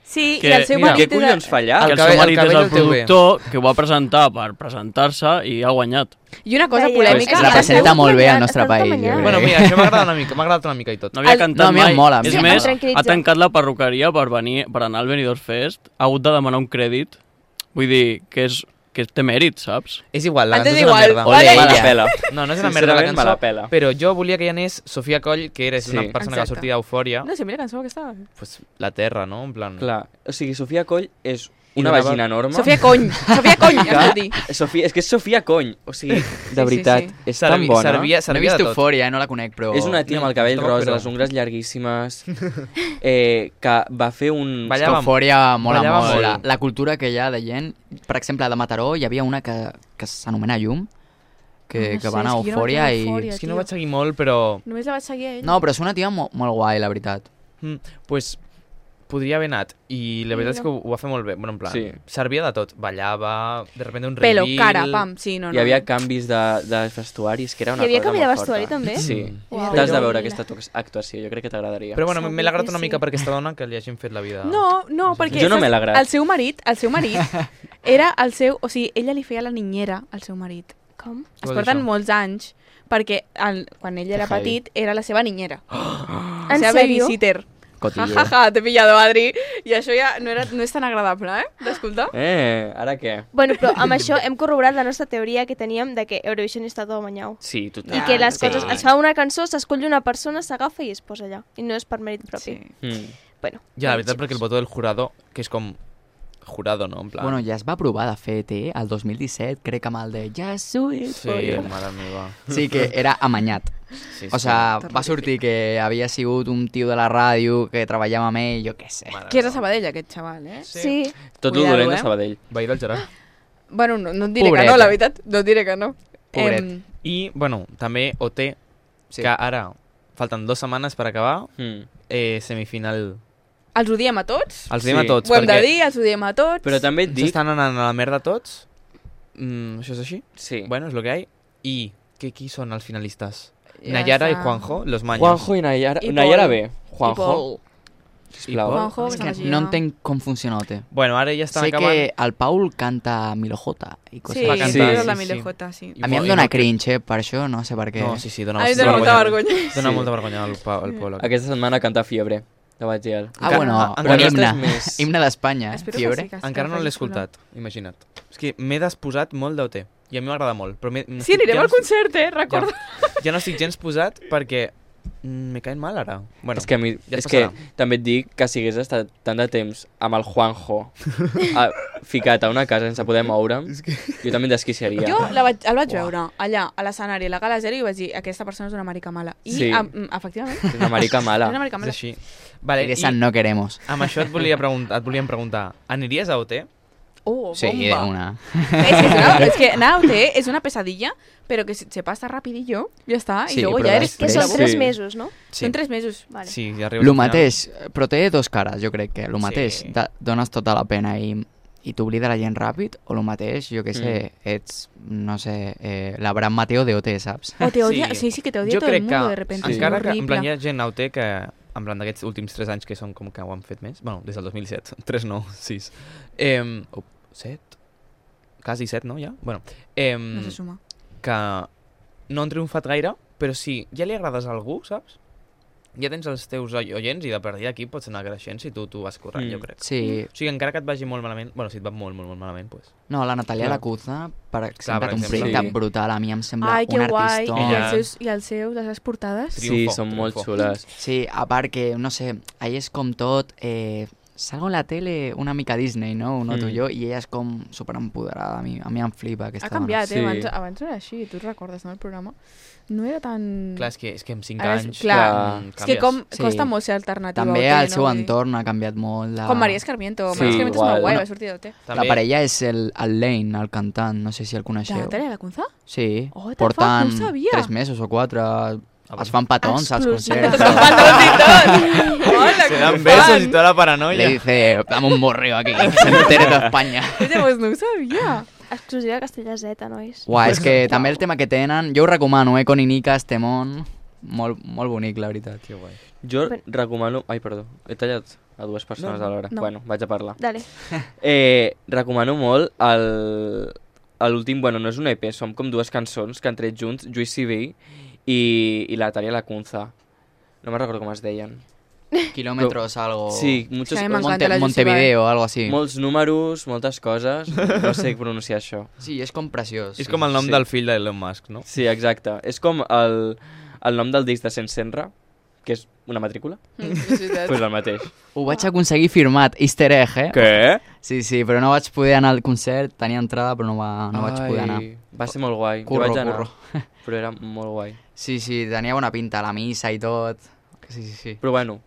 [SPEAKER 5] Sí, i
[SPEAKER 8] Que-
[SPEAKER 5] el seu
[SPEAKER 8] mira,
[SPEAKER 4] Què
[SPEAKER 5] marit...
[SPEAKER 4] collons fa allà?
[SPEAKER 7] El
[SPEAKER 8] que el
[SPEAKER 7] cabell-
[SPEAKER 8] seu
[SPEAKER 7] el
[SPEAKER 8] marit és
[SPEAKER 7] cabell
[SPEAKER 8] el
[SPEAKER 7] el té bé.
[SPEAKER 8] productor, que ho va presentar per presentar-se i ha guanyat.
[SPEAKER 5] I una cosa
[SPEAKER 2] Veia.
[SPEAKER 5] polèmica...
[SPEAKER 2] Pues
[SPEAKER 6] la
[SPEAKER 5] ara-
[SPEAKER 6] presenta molt bé al nostre
[SPEAKER 2] Estan
[SPEAKER 6] país, jo
[SPEAKER 2] demanyant.
[SPEAKER 6] crec.
[SPEAKER 7] Bueno, mira, això m'ha agradat una mica, m'ha agradat una mica i tot.
[SPEAKER 8] No havia
[SPEAKER 5] El-
[SPEAKER 8] cantat
[SPEAKER 6] no, a mi em
[SPEAKER 8] mai.
[SPEAKER 6] mola, a mi
[SPEAKER 8] és
[SPEAKER 6] em
[SPEAKER 8] més,
[SPEAKER 2] tranquil·litza.
[SPEAKER 8] ha tancat la perruqueria per, venir, per anar al Benidorm Fest, ha hagut de demanar un crèdit. Vull dir, que és, que té mèrit, saps?
[SPEAKER 7] És igual, la
[SPEAKER 5] Ens
[SPEAKER 7] cançó
[SPEAKER 5] és
[SPEAKER 7] és una
[SPEAKER 5] igual,
[SPEAKER 7] merda.
[SPEAKER 5] vale?
[SPEAKER 4] Me la
[SPEAKER 6] Ella.
[SPEAKER 4] pela.
[SPEAKER 7] No, no és una merda la
[SPEAKER 4] Sincerament,
[SPEAKER 7] cançó,
[SPEAKER 4] me la pela.
[SPEAKER 7] però jo volia que hi anés Sofia Coll, que era és una
[SPEAKER 4] Sí.
[SPEAKER 7] persona
[SPEAKER 5] Exacte.
[SPEAKER 7] que va sortir d'Eufòria,
[SPEAKER 5] No sé, mira la cançó aquesta.
[SPEAKER 7] pues, la Terra, no? En plan...
[SPEAKER 4] Clar. O sigui, Sofia Coll és
[SPEAKER 7] I
[SPEAKER 4] una
[SPEAKER 7] donava-
[SPEAKER 4] vagina enorme.
[SPEAKER 5] Sofia Cony. Sofia Cony, em vol dir.
[SPEAKER 4] Sofia, és que és Sofia Cony. O sigui, de
[SPEAKER 5] sí,
[SPEAKER 4] veritat, és tan
[SPEAKER 7] Servi-
[SPEAKER 4] bona.
[SPEAKER 7] Servia,
[SPEAKER 6] No he
[SPEAKER 7] servia
[SPEAKER 6] vist
[SPEAKER 7] de tot.
[SPEAKER 6] Eufòria, eh? no la conec, però...
[SPEAKER 4] És una tia amb el cabell
[SPEAKER 7] Tampoc,
[SPEAKER 4] rosa,
[SPEAKER 7] però-
[SPEAKER 4] les ungles llarguíssimes, eh, que va fer un...
[SPEAKER 7] Balla- Ballava-
[SPEAKER 6] Eufòria mola
[SPEAKER 7] ballava
[SPEAKER 6] molt.
[SPEAKER 7] molt.
[SPEAKER 6] La, la cultura que hi ha de gent... Per exemple, de Mataró hi havia una que, que s'anomena Llum, que, que
[SPEAKER 5] No sé,
[SPEAKER 6] va anar
[SPEAKER 5] és
[SPEAKER 6] a
[SPEAKER 5] que jo no
[SPEAKER 6] Eufòria
[SPEAKER 5] vaig anar a
[SPEAKER 6] i...
[SPEAKER 5] Eufòria.
[SPEAKER 7] És que no
[SPEAKER 5] tio.
[SPEAKER 7] vaig seguir molt, però...
[SPEAKER 5] Només la vaig seguir a ell.
[SPEAKER 6] No, però és una tia molt, molt guai, la veritat.
[SPEAKER 7] Mm, pues, podria haver anat. I la veritat és que ho, ho va fer molt bé. Bueno, en plan,
[SPEAKER 4] Sí.
[SPEAKER 7] servia de tot. Ballava, de repente un
[SPEAKER 5] Pelo,
[SPEAKER 7] reveal...
[SPEAKER 5] cara, pam, sí, no, no.
[SPEAKER 4] Hi havia canvis de, de vestuaris, que era una
[SPEAKER 2] Hi havia
[SPEAKER 4] cosa
[SPEAKER 2] canvi de
[SPEAKER 4] molt forta.
[SPEAKER 2] vestuari, també?
[SPEAKER 4] Sí.
[SPEAKER 2] Uau.
[SPEAKER 4] T'has de
[SPEAKER 7] Però-
[SPEAKER 4] veure aquesta tu- actuació, jo crec que t'agradaria.
[SPEAKER 7] Però bueno, me- me l'ha agradat
[SPEAKER 2] que
[SPEAKER 7] una mica
[SPEAKER 2] sí.
[SPEAKER 7] per aquesta dona que li hagin fet la vida.
[SPEAKER 5] No, no, perquè...
[SPEAKER 4] Jo no
[SPEAKER 5] saps?
[SPEAKER 4] me l'agrad.
[SPEAKER 5] El seu marit, el seu marit, era el seu... O sigui, ella li feia la niñera al seu marit.
[SPEAKER 2] Com?
[SPEAKER 7] Què
[SPEAKER 5] Es
[SPEAKER 7] vol dir
[SPEAKER 5] porten
[SPEAKER 7] això?
[SPEAKER 5] molts anys, perquè el, quan ell era
[SPEAKER 4] Que heavy.
[SPEAKER 5] petit era la seva niñera.
[SPEAKER 2] En
[SPEAKER 5] la seva
[SPEAKER 2] sèrio?
[SPEAKER 5] babysitter. Ja,
[SPEAKER 6] Cotillo.
[SPEAKER 5] ja, ja, t'he pillado, Adri. I això ja no, era, no és tan agradable, eh? D'escoltar.
[SPEAKER 4] Eh, ara què?
[SPEAKER 2] Bueno, però amb això hem corroborat la nostra teoria que teníem de que Eurovision està tot banyau.
[SPEAKER 4] Sí, total.
[SPEAKER 2] I que les
[SPEAKER 4] Sí.
[SPEAKER 2] coses... Es fa una cançó, s'escull una persona, s'agafa i es posa allà. I no és per mèrit propi.
[SPEAKER 4] Mm.
[SPEAKER 2] Bueno. eh,
[SPEAKER 7] Ja, la veritat, perquè el botó del jurado, que és com... Jurado, no? En plan...
[SPEAKER 6] Bueno, ja es va provar, de fet, eh? El 2017, crec, amb el de Ja soy
[SPEAKER 7] Sí,
[SPEAKER 6] Euphoria.
[SPEAKER 7] mare meva.
[SPEAKER 6] Sí, que era amanyat.
[SPEAKER 7] Sí,
[SPEAKER 6] O
[SPEAKER 7] sí.
[SPEAKER 6] sea, va sortir que havia sigut un tio de la ràdio que treballava amb ell, jo què sé.
[SPEAKER 7] Mare
[SPEAKER 5] Que és
[SPEAKER 7] meva.
[SPEAKER 5] de Sabadell, aquest xaval, eh?
[SPEAKER 2] Sí.
[SPEAKER 4] Tot el
[SPEAKER 5] Cuidado,
[SPEAKER 4] dolent
[SPEAKER 5] eh?
[SPEAKER 4] de Sabadell.
[SPEAKER 7] Veí del Gerard.
[SPEAKER 5] Bueno, no, no et diré
[SPEAKER 6] Pobret.
[SPEAKER 5] que no, la veritat. No et diré que no.
[SPEAKER 6] Pobret.
[SPEAKER 5] Em,
[SPEAKER 7] I, bueno, també OT,
[SPEAKER 6] Sí.
[SPEAKER 7] sí. que ara falten dues setmanes per acabar,
[SPEAKER 4] Mm.
[SPEAKER 7] eh, semifinal.
[SPEAKER 5] els odiem a tots.
[SPEAKER 7] Els diem
[SPEAKER 4] Sí.
[SPEAKER 7] a tots,
[SPEAKER 5] Ho hem de
[SPEAKER 7] perquè
[SPEAKER 5] dir, els odiem a tots.
[SPEAKER 4] Però també et dic...
[SPEAKER 7] s'estan anant a la merda tots. Mm, això és així?
[SPEAKER 4] Sí.
[SPEAKER 7] Bueno, és lo que hay. I que, qui són els finalistes?
[SPEAKER 5] Ja
[SPEAKER 7] Nayara
[SPEAKER 5] està.
[SPEAKER 7] i Juanjo, los maños.
[SPEAKER 4] Juanjo i Nayara...
[SPEAKER 5] I
[SPEAKER 4] Nayara
[SPEAKER 5] Pol.
[SPEAKER 4] B. Juanjo,
[SPEAKER 5] Paul.
[SPEAKER 4] sisplau.
[SPEAKER 5] Juanjo,
[SPEAKER 6] És
[SPEAKER 5] que
[SPEAKER 6] que
[SPEAKER 5] se
[SPEAKER 6] no
[SPEAKER 5] m'ha girat.
[SPEAKER 6] entenc com funciona OT.
[SPEAKER 7] Bueno, ara ja estan
[SPEAKER 6] Sé
[SPEAKER 7] acabant.
[SPEAKER 6] que el Paul canta Milo J i coses
[SPEAKER 5] Sí,
[SPEAKER 7] Va
[SPEAKER 5] sí,
[SPEAKER 7] cantar,
[SPEAKER 5] sí,
[SPEAKER 4] sí,
[SPEAKER 5] la
[SPEAKER 7] sí.
[SPEAKER 5] Milejota, sí.
[SPEAKER 7] I
[SPEAKER 6] A mi em
[SPEAKER 7] mo- i
[SPEAKER 6] dona
[SPEAKER 7] no-
[SPEAKER 6] cringe, eh, per això, no sé Ah, per què.
[SPEAKER 7] No, sí, sí, dona,
[SPEAKER 5] A mi em
[SPEAKER 7] sí,
[SPEAKER 5] dona
[SPEAKER 7] dona
[SPEAKER 5] molta vergonya.
[SPEAKER 7] Dona
[SPEAKER 4] Sí.
[SPEAKER 7] molta vergonya al, pa, al Polo. aquest.
[SPEAKER 4] Aquesta setmana canta Fiebre, de vaig dir. al-
[SPEAKER 6] Ah,
[SPEAKER 7] Encara-
[SPEAKER 6] bueno,
[SPEAKER 7] encara
[SPEAKER 6] bon
[SPEAKER 7] no
[SPEAKER 6] himne.
[SPEAKER 4] estàs més-
[SPEAKER 6] Himne d'Espanya, eh?
[SPEAKER 5] Espero que
[SPEAKER 6] fiebre.
[SPEAKER 5] sí, que
[SPEAKER 7] Encara no l'he
[SPEAKER 5] estigui xulo.
[SPEAKER 7] escoltat, imagina't. És que m'he desposat molt d'OT. I a mi m'agrada molt. Però m'he- no
[SPEAKER 5] Sí,
[SPEAKER 7] estic-
[SPEAKER 5] anirem
[SPEAKER 7] ja
[SPEAKER 5] al
[SPEAKER 7] no estic-
[SPEAKER 5] concert, eh? Recorda.
[SPEAKER 7] Ja, ja no estic gens posat perquè mm, me caen mal ara. Bueno,
[SPEAKER 4] és que, a mi,
[SPEAKER 7] ja
[SPEAKER 4] ja
[SPEAKER 7] es
[SPEAKER 4] és que
[SPEAKER 7] passarà.
[SPEAKER 4] també et dic que si hagués estat tant de temps amb el Juanjo a, ficat a una casa sense poder moure'm, jo també em desquiciaria.
[SPEAKER 5] Jo la vaig, el vaig veure allà, a l'escenari, a la gala zero, i vaig dir, aquesta persona és una marica mala. I,
[SPEAKER 4] Sí.
[SPEAKER 5] em- mm, efectivament,
[SPEAKER 4] És una marica
[SPEAKER 5] és
[SPEAKER 4] mala.
[SPEAKER 5] una marica
[SPEAKER 7] és
[SPEAKER 5] mala.
[SPEAKER 7] així. Vale,
[SPEAKER 6] Eres el no queremos.
[SPEAKER 7] Amb això et volia preguntar, et volíem preguntar, aniries a OT?
[SPEAKER 5] Oh,
[SPEAKER 6] Sí, de
[SPEAKER 5] bomba.
[SPEAKER 6] una.
[SPEAKER 5] Es que, es una- es que nada, usted es una pesadilla, pero que se, se pasa rapidillo, ya está,
[SPEAKER 6] Sí,
[SPEAKER 5] y luego
[SPEAKER 6] pero
[SPEAKER 5] ya eres...
[SPEAKER 2] Que
[SPEAKER 6] després-
[SPEAKER 2] son
[SPEAKER 6] Sí.
[SPEAKER 2] tres mesos, no?
[SPEAKER 5] Son tres mesos.
[SPEAKER 2] Vale.
[SPEAKER 7] Sí, ja arriba.
[SPEAKER 6] Lo mateix, però té dos cares, jo crec que. Lo
[SPEAKER 7] Sí.
[SPEAKER 6] mateix, da- dones tota la pena i, i t'oblida la gent ràpid, o lo mateix, jo què sé,
[SPEAKER 7] Mm.
[SPEAKER 6] ets, no sé, eh, l'Abraham Mateo de OT, saps?
[SPEAKER 5] O te odia, sí,
[SPEAKER 7] Sí.
[SPEAKER 5] sí, que te odia
[SPEAKER 7] jo
[SPEAKER 5] todo el
[SPEAKER 7] crec
[SPEAKER 5] mundo
[SPEAKER 7] que,
[SPEAKER 5] de repente.
[SPEAKER 4] sí.
[SPEAKER 5] es
[SPEAKER 7] encara que en
[SPEAKER 5] horrible.
[SPEAKER 7] plan, hi ha gent a UT que en plan d'aquests últims 3 anys que són com que ho han fet més, bueno, des del 2007, 3 no, 6, eh, oh, 7, quasi 7, no, ja? Bueno, eh,
[SPEAKER 5] No se suma.
[SPEAKER 7] que no han triomfat gaire, però si ja li agrades a algú, saps? Ja tens els teus oi- oients i de partir d'aquí pots anar creixent si tu tu vas corrent,
[SPEAKER 4] Mm.
[SPEAKER 7] jo crec.
[SPEAKER 6] Sí,
[SPEAKER 7] O sigui, encara que et vagi molt malament, bueno, si et va molt, molt, molt malament, doncs...
[SPEAKER 6] no, la Natalia
[SPEAKER 4] Clar.
[SPEAKER 6] Lacuza, per exemple,
[SPEAKER 7] per
[SPEAKER 6] té un
[SPEAKER 7] exemple.
[SPEAKER 6] projecte
[SPEAKER 4] Sí.
[SPEAKER 6] brutal, a mi em sembla
[SPEAKER 5] Ai, que
[SPEAKER 6] un
[SPEAKER 5] guai.
[SPEAKER 6] artista.
[SPEAKER 5] I
[SPEAKER 7] Ella-
[SPEAKER 5] els seus, i els seus, les seves portades.
[SPEAKER 7] Sí.
[SPEAKER 4] Sí,
[SPEAKER 7] Triunfo,
[SPEAKER 4] són molt
[SPEAKER 7] triunfo.
[SPEAKER 4] xules.
[SPEAKER 6] Sí, a part que, no sé, ahí és com tot... Eh, salgo a la tele una mica Disney, no? Uno
[SPEAKER 4] Mm.
[SPEAKER 6] tu i jo, i ella és com superempoderada. A mi, a mi em flipa aquesta
[SPEAKER 5] Ha canviat, eh?
[SPEAKER 4] Sí.
[SPEAKER 5] Abans, abans no era així, tu recordes, no, el programa? No era tan...
[SPEAKER 7] Clar, és que, és que amb 5
[SPEAKER 5] Mm. Ara és-
[SPEAKER 7] anys...
[SPEAKER 5] clar,
[SPEAKER 7] mm,
[SPEAKER 5] és que
[SPEAKER 7] canvies.
[SPEAKER 5] com
[SPEAKER 6] Sí.
[SPEAKER 5] costa molt ser
[SPEAKER 6] dona.
[SPEAKER 5] alternativa.
[SPEAKER 6] També
[SPEAKER 5] a OT,
[SPEAKER 6] el seu
[SPEAKER 5] no?
[SPEAKER 6] entorn ha canviat molt. La...
[SPEAKER 5] Com Maria Escarmiento.
[SPEAKER 4] Sí,
[SPEAKER 5] Maria Escarmiento és
[SPEAKER 4] igual.
[SPEAKER 5] molt guai,
[SPEAKER 4] No.
[SPEAKER 5] va sortir d'OT.
[SPEAKER 6] La parella és el, el Lane, el cantant, no sé si el
[SPEAKER 5] De
[SPEAKER 6] coneixeu.
[SPEAKER 5] Natalia Lacunza?
[SPEAKER 6] Sí,
[SPEAKER 5] Oh, what the fuck,
[SPEAKER 6] porten
[SPEAKER 5] no ho sabia.
[SPEAKER 6] tres mesos o quatre,
[SPEAKER 7] bueno.
[SPEAKER 6] es fan petons als
[SPEAKER 5] Explosiva.
[SPEAKER 6] concerts.
[SPEAKER 5] Hola,
[SPEAKER 7] Se dan besos y toda la
[SPEAKER 6] Le
[SPEAKER 7] paranoia.
[SPEAKER 6] dice, dame un borreo aquí, que se entere de España.
[SPEAKER 5] Oye, pues no ho sabia.
[SPEAKER 2] Exclusiva Castella Z, nois.
[SPEAKER 6] Uah, és que també el tema que tenen, jo ho recomano, eh, Coninicas, Temón, molt, molt bonic, la veritat. Que guai.
[SPEAKER 4] Jo
[SPEAKER 2] Bueno.
[SPEAKER 4] recomano... Ai, perdó, he tallat a dues persones
[SPEAKER 7] No,
[SPEAKER 4] alhora.
[SPEAKER 5] no.
[SPEAKER 4] Bueno, vaig a parlar.
[SPEAKER 2] Dale.
[SPEAKER 4] Eh, recomano molt el... a L'últim, bueno, no és un EP, són com dues cançons que han tret junts, Lluís Civil i, i la Talia Lacunza. No me'n recordo com es deien.
[SPEAKER 6] Kilómetros, algo...
[SPEAKER 4] Sí, muchos,
[SPEAKER 5] Sí, Oh. a mi
[SPEAKER 4] mol-
[SPEAKER 5] m'encanta.
[SPEAKER 6] Monte,
[SPEAKER 5] la Llucifer.
[SPEAKER 6] Montevideo, algo así.
[SPEAKER 4] molts números, moltes coses, no sé pronunciar això.
[SPEAKER 6] Sí, és com preciós.
[SPEAKER 7] És com el nom
[SPEAKER 4] Sí.
[SPEAKER 7] del fill d'Elon Musk, no?
[SPEAKER 4] Sí, exacte. És com el, el nom del disc de Sense Senra, que és una matrícula, doncs pues el mateix.
[SPEAKER 6] Ho vaig aconseguir firmat, easter egg, eh?
[SPEAKER 4] Què?
[SPEAKER 6] Sí, sí, però no vaig poder anar al concert, tenia entrada, però no, va, no vaig poder anar.
[SPEAKER 4] Va ser molt guai. Jo
[SPEAKER 6] Curro,
[SPEAKER 4] vaig anar,
[SPEAKER 6] curro.
[SPEAKER 4] Però era molt guai.
[SPEAKER 6] Sí, sí, tenia bona pinta, la missa i tot. Sí, sí, sí.
[SPEAKER 4] Però bueno,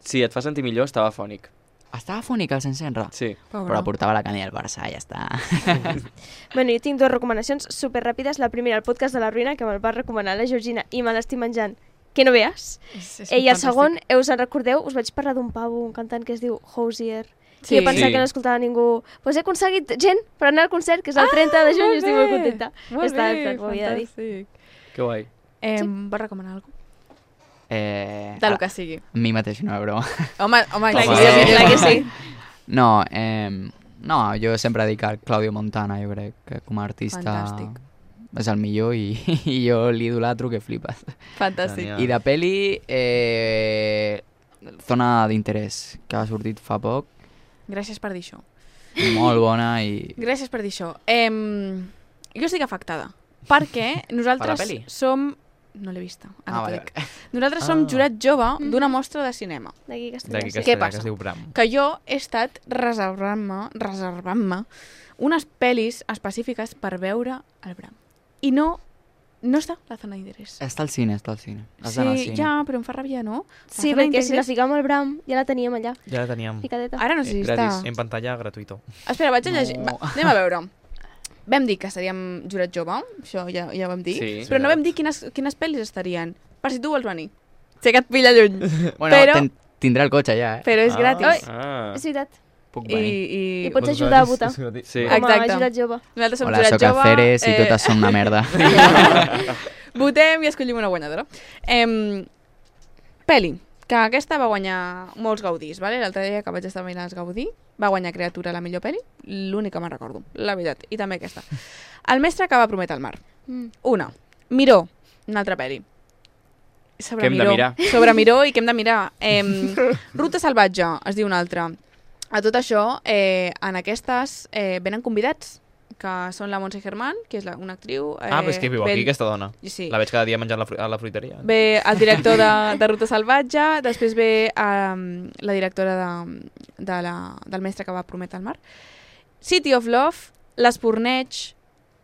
[SPEAKER 4] si et fa sentir millor, estava fònic.
[SPEAKER 6] Estava fònic el Sensenra.
[SPEAKER 4] Sí.
[SPEAKER 5] Pues
[SPEAKER 6] Però portava la canalla del Barça, ja està.
[SPEAKER 2] Bueno, jo tinc dues recomanacions super ràpides. La primera, el podcast de la ruïna, que me'l va recomanar la Georgina i me l'estic menjant. Que no veas. Eh, I el segon, eh, us en recordeu? Us vaig parlar d'un pavo, un cantant que es diu Hosier. Sí. Que
[SPEAKER 5] Sí.
[SPEAKER 2] jo pensava
[SPEAKER 4] Sí.
[SPEAKER 2] que no escoltava ningú. Doncs pues he aconseguit gent per anar al concert, que és el 30 de juny, i estic Ah, molt contenta. Està bé, havia de dir.
[SPEAKER 5] fantàstic.
[SPEAKER 4] Que guai.
[SPEAKER 5] Eh, va recomanar alguna cosa?
[SPEAKER 6] Eh,
[SPEAKER 5] De lo que sigui.
[SPEAKER 6] A mi mateix no, bro.
[SPEAKER 5] Home, home,
[SPEAKER 2] Clar que
[SPEAKER 5] home.
[SPEAKER 2] sí, clar que sí.
[SPEAKER 6] No, eh, no, jo sempre dic al Claudio Montana, jo crec que com a artista...
[SPEAKER 5] Fantàstic.
[SPEAKER 6] És el millor i, i jo l'idolatro que flipes.
[SPEAKER 5] Fantàstic.
[SPEAKER 7] Genial.
[SPEAKER 6] I de peli, eh, Zona d'interès, que ha sortit fa poc,
[SPEAKER 5] Gràcies per dir això.
[SPEAKER 6] molt bona i...
[SPEAKER 5] Gràcies per dir això. Eh, jo estic afectada, perquè nosaltres
[SPEAKER 6] peli?
[SPEAKER 5] som... No l'he vista, ara
[SPEAKER 6] Ah,
[SPEAKER 5] ah,
[SPEAKER 6] vale,
[SPEAKER 5] vale, Nosaltres som jurat jove d'una mostra de cinema.
[SPEAKER 2] D'aquí Castellà.
[SPEAKER 7] D'aquí
[SPEAKER 2] sí.
[SPEAKER 7] que,
[SPEAKER 5] Què
[SPEAKER 7] que
[SPEAKER 5] passa?
[SPEAKER 7] es diu Bram.
[SPEAKER 5] que jo he estat reservant-me, reservant-me, unes pel·lis específiques per veure el Bram. I no, no està a la zona d'interès.
[SPEAKER 6] Està al cine, està al cine. Has d'anar al
[SPEAKER 5] Sí,
[SPEAKER 6] cine.
[SPEAKER 5] ja, però em fa ràbia, no? La
[SPEAKER 2] Sí,
[SPEAKER 5] zona
[SPEAKER 2] perquè si la
[SPEAKER 5] d'interès-
[SPEAKER 2] ficàvem al Bram, ja la teníem allà,
[SPEAKER 7] Ja la teníem
[SPEAKER 4] Ah.
[SPEAKER 2] ficadeta.
[SPEAKER 5] Ara no
[SPEAKER 7] eh,
[SPEAKER 5] sé si està...
[SPEAKER 4] gratis.
[SPEAKER 7] en pantalla gratuïto.
[SPEAKER 5] Espera, vaig a llegir...
[SPEAKER 6] No.
[SPEAKER 5] Va, anem a veure. Vam dir que seríem jurat jove, això ja, ja ho vam dir,
[SPEAKER 4] Sí.
[SPEAKER 5] però no vam dir quines, quines pel·lis estarien, per si tu vols venir. Sé que et pilla lluny,
[SPEAKER 6] Bueno,
[SPEAKER 5] Però-
[SPEAKER 6] ten, tindrà el cotxe ja, eh?
[SPEAKER 5] però és gratis.
[SPEAKER 4] Ah.
[SPEAKER 2] És veritat.
[SPEAKER 6] Puc
[SPEAKER 5] I,
[SPEAKER 6] venir.
[SPEAKER 5] i...
[SPEAKER 2] I pots ajudar a votar.
[SPEAKER 4] Sí.
[SPEAKER 2] Com a
[SPEAKER 5] Exacte.
[SPEAKER 2] ajudat jove.
[SPEAKER 5] Nosaltres som
[SPEAKER 6] Hola,
[SPEAKER 5] jurat
[SPEAKER 6] sóc
[SPEAKER 5] jove...
[SPEAKER 6] Aceres i
[SPEAKER 5] eh,
[SPEAKER 6] totes són una merda.
[SPEAKER 5] Votem i escollim una guanyadora. Em, peli, que aquesta va guanyar molts gaudís, vale? l'altre dia que vaig estar veient els Gaudí, va guanyar Creatura la millor peli, l'única que me'n recordo, la veritat, i també aquesta. El mestre que va prometre al mar.
[SPEAKER 2] Mm.
[SPEAKER 5] Una. Miró, una altra peli. Sobre
[SPEAKER 4] Que hem de
[SPEAKER 5] Miró.
[SPEAKER 4] mirar.
[SPEAKER 5] Sobre Miró i que hem de mirar. Em, Ruta salvatge, es diu una altra. A tot això, eh, en aquestes eh, venen convidats, que són la Montse Germán, que és la, una actriu... Eh,
[SPEAKER 7] Ah, però és que viu
[SPEAKER 5] ben-
[SPEAKER 7] aquí, aquesta dona.
[SPEAKER 5] Sí.
[SPEAKER 7] La veig cada dia menjant la fru- a la fruiteria.
[SPEAKER 5] Ve el director de, de Ruta Salvatge, després ve um, la directora de, de la, del mestre que va prometre al mar. City of Love, l'Esporneig,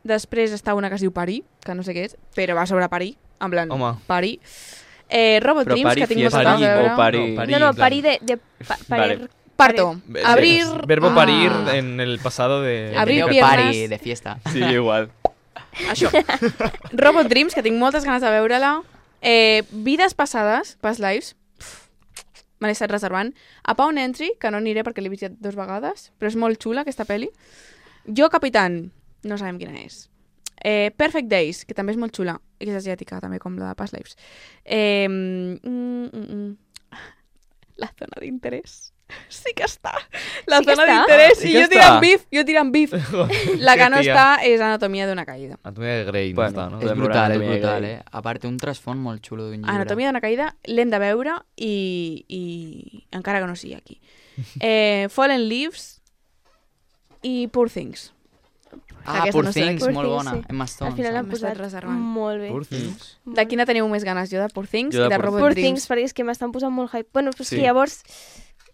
[SPEAKER 5] després està una que es diu Parí, que no sé què és, però va sobre Parí, en plan
[SPEAKER 7] Home.
[SPEAKER 5] Parí. Eh, Robot
[SPEAKER 4] Però
[SPEAKER 5] Dreams,
[SPEAKER 4] Pari
[SPEAKER 5] que tinc moltes
[SPEAKER 4] Fiesta
[SPEAKER 5] ganes de
[SPEAKER 4] o
[SPEAKER 5] veure.
[SPEAKER 4] Pari...
[SPEAKER 7] No, Pari-
[SPEAKER 2] No, no,
[SPEAKER 7] en plan-
[SPEAKER 2] pari de... de pa, pari
[SPEAKER 4] Vale.
[SPEAKER 2] vale.
[SPEAKER 5] Parto. Abrir.
[SPEAKER 7] Verbo eh,
[SPEAKER 5] Ah.
[SPEAKER 7] parir en el pasado de...
[SPEAKER 5] Abrir
[SPEAKER 6] Abrir
[SPEAKER 5] piernas.
[SPEAKER 6] Party de fiesta.
[SPEAKER 4] Sí, igual.
[SPEAKER 5] Això. Robot Dreams, que tinc moltes ganes de veure-la. Eh, Vides passades, Past Lives. Pff, Me l'he estat reservant. A Pound Entry, que no aniré perquè l'he vist ja dues vegades, però és molt xula aquesta peli. Jo, Capitán, no sabem quina és. Eh, Perfect Days, que també és molt xula, i que és asiàtica, també, com la de Past Lives. Eh, mm, mm, mm. La zona d'interès. Sí que està. La
[SPEAKER 2] Sí que
[SPEAKER 5] zona
[SPEAKER 2] està.
[SPEAKER 5] d'interès.
[SPEAKER 7] Sí
[SPEAKER 5] I
[SPEAKER 7] que
[SPEAKER 5] jo tirant
[SPEAKER 7] està.
[SPEAKER 5] bif, jo tirant bif. La que no està és Anatomia d'una caïda.
[SPEAKER 7] Anatomia de Grey,
[SPEAKER 4] Bueno,
[SPEAKER 7] no està, no?
[SPEAKER 4] és
[SPEAKER 6] És
[SPEAKER 4] Podem
[SPEAKER 6] brutal,
[SPEAKER 4] veure
[SPEAKER 6] és
[SPEAKER 4] Anatomia
[SPEAKER 6] brutal,
[SPEAKER 4] Grey.
[SPEAKER 6] eh? A part, té un trasfons molt xulo
[SPEAKER 5] Ah,
[SPEAKER 6] d'un llibre.
[SPEAKER 5] Anatomia d'una caïda l'hem de veure i, i encara que no sigui aquí. Eh, Fallen Leaves i Poor Things.
[SPEAKER 6] Ah,
[SPEAKER 5] Aquesta
[SPEAKER 6] Poor
[SPEAKER 5] no sé de
[SPEAKER 6] Things,
[SPEAKER 2] què-
[SPEAKER 6] molt
[SPEAKER 2] Poor
[SPEAKER 6] bona.
[SPEAKER 2] Things, sí.
[SPEAKER 6] Emma Stone.
[SPEAKER 2] Al final
[SPEAKER 5] m'ha
[SPEAKER 2] l'han
[SPEAKER 6] saps?
[SPEAKER 5] estat
[SPEAKER 2] posat
[SPEAKER 5] reservant.
[SPEAKER 2] molt bé.
[SPEAKER 7] Poor
[SPEAKER 5] Oh.
[SPEAKER 7] Things.
[SPEAKER 5] De quina teniu més ganes? Jo de Poor Things
[SPEAKER 4] Jo de
[SPEAKER 5] i de
[SPEAKER 4] Poor
[SPEAKER 5] Robot
[SPEAKER 2] Poor Things,
[SPEAKER 5] Dreams.
[SPEAKER 2] perquè és que m'estan posant molt hype. Bueno, però és
[SPEAKER 4] Sí.
[SPEAKER 2] que llavors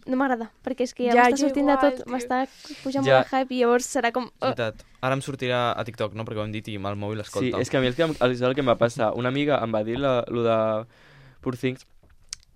[SPEAKER 2] no m'agrada, perquè és que ja,
[SPEAKER 5] Ja,
[SPEAKER 2] m'està
[SPEAKER 5] jo
[SPEAKER 2] sortint de
[SPEAKER 5] igual,
[SPEAKER 2] tot,
[SPEAKER 5] tio.
[SPEAKER 2] m'està pujant
[SPEAKER 4] Ja.
[SPEAKER 2] molt el hype i llavors serà com... Oh,
[SPEAKER 7] Veritat. Ara em sortirà a TikTok, no? Perquè ho hem dit i el mòbil
[SPEAKER 4] Sí,
[SPEAKER 7] escolta.
[SPEAKER 4] és que a mi el que, em- el, és el que em va passar, una amiga em va dir la, lo de Poor Things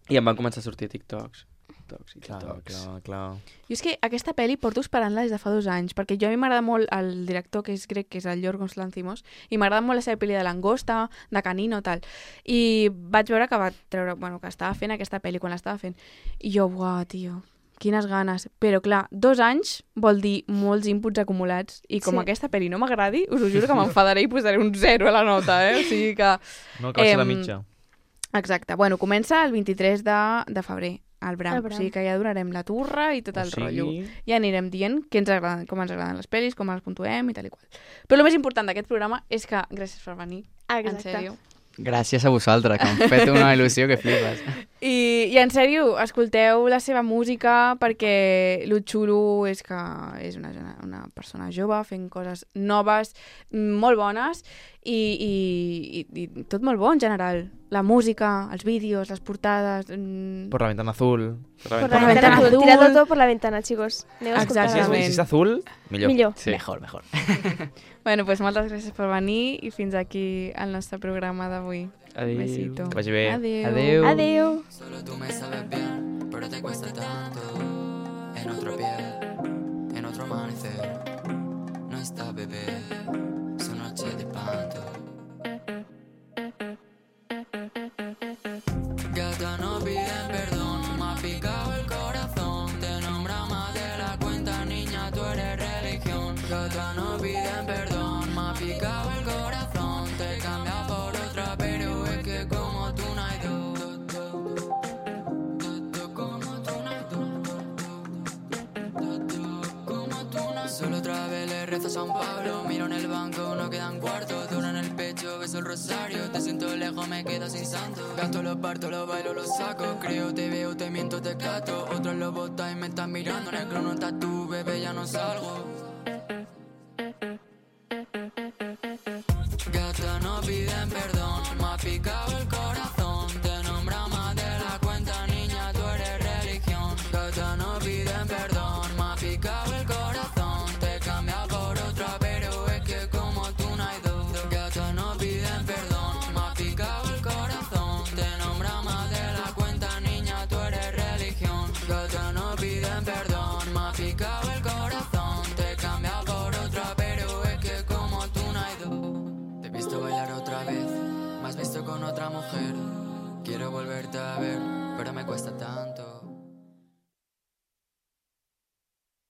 [SPEAKER 4] i em van començar a sortir TikToks. TikToks i
[SPEAKER 7] Clar,
[SPEAKER 4] TikToks.
[SPEAKER 7] clar, clar.
[SPEAKER 5] Jo és que aquesta peli porto esperant-la des de fa dos anys, perquè jo a mi m'agrada molt el director, que és grec, que és el Yorgos Lanthimos, i m'agrada molt la seva pel·li de l'angosta, de canino, tal. I vaig veure que va treure, bueno, que estava fent aquesta pel·li quan l'estava fent. I jo, buah, tio, quines ganes. Però clar, dos anys vol dir molts inputs acumulats, i com
[SPEAKER 2] Sí.
[SPEAKER 5] aquesta pel·li no m'agradi, us ho juro que m'enfadaré i posaré un zero a la nota, eh? O sigui que...
[SPEAKER 7] No, que va ser la
[SPEAKER 5] Em,
[SPEAKER 7] mitja.
[SPEAKER 5] Exacte. Bueno, comença el 23 de, de febrer, al Bram.
[SPEAKER 2] Al
[SPEAKER 5] O
[SPEAKER 2] Bram.
[SPEAKER 5] sigui que ja donarem la turra i tot el
[SPEAKER 7] O sigui,
[SPEAKER 5] rotllo ja anirem dient què ens agraden, com ens agraden les pel·lis, com les puntuem i tal i qual. Però el més important d'aquest programa és que gràcies per venir, en
[SPEAKER 2] exacte.
[SPEAKER 5] sèrio.
[SPEAKER 6] Gràcies a vosaltres, que m'han fet una il·lusió que flipes.
[SPEAKER 5] I, I en sèrio, escolteu la seva música perquè lo xulo és que és una, gena- una persona jove fent coses noves, molt bones i, i, i, i tot molt bo en general. La música, els vídeos, les portades... mm,
[SPEAKER 7] Por la ventana azul.
[SPEAKER 2] Por
[SPEAKER 5] Por
[SPEAKER 2] la
[SPEAKER 5] la
[SPEAKER 2] ventana,
[SPEAKER 5] ventana.
[SPEAKER 2] tirado todo por la ventana, chicos. Aneu a
[SPEAKER 5] Exacte.
[SPEAKER 2] escoltar-la.
[SPEAKER 7] Si és,
[SPEAKER 5] Clarament.
[SPEAKER 7] si és azul, millor.
[SPEAKER 2] Millor.
[SPEAKER 4] Sí.
[SPEAKER 6] Mejor, mejor.
[SPEAKER 5] Bueno, doncs moltes gràcies per venir i fins aquí el nostre programa d'avui. Un
[SPEAKER 4] Adéu.
[SPEAKER 5] besito.
[SPEAKER 7] Que vagi bé.
[SPEAKER 5] Adéu.
[SPEAKER 6] Adéu.
[SPEAKER 2] Adeu.
[SPEAKER 3] Solo tú me sabes bien, pero te cuesta tanto. En otro pie, en otro amanecer. No está bebé, su noche de espanto. Gata no piden perdón, me ha picado el corazón. Te nombra más de la cuenta, niña, tú eres religión. Gata no piden perdón, me ha picado el corazón. Te cambia por otra, pero es que como tú no hay dos. Solo otra vez le rezo a San Pablo Miro en el banco, no quedan cuartos Duro en el pecho, beso el rosario Te siento lejos, me quedo sin santo Gasto, lo parto, lo bailo, lo saco Creo, te veo, te miento, te cato Otros lo botan y me están mirando En el crono estás tú, bebé, ya no salgo Gata, no piden perdón Me ha picado el corazón Te nombra más de la cuenta, niña, tú eres religión Gata, no piden perdón Me ha picado el corazón Te cambia por otra, pero es que como tú no hay dos Gata, no piden perdón Me ha picado el corazón Te nombra más de la cuenta, niña, tú eres religión Gata, no piden perdón Me ha picado el corazón Te cambia por otra, pero es que como tú no hay dos te he visto bailar otra vez, me has visto con otra mujer. Quiero volverte a ver, pero me cuesta tanto.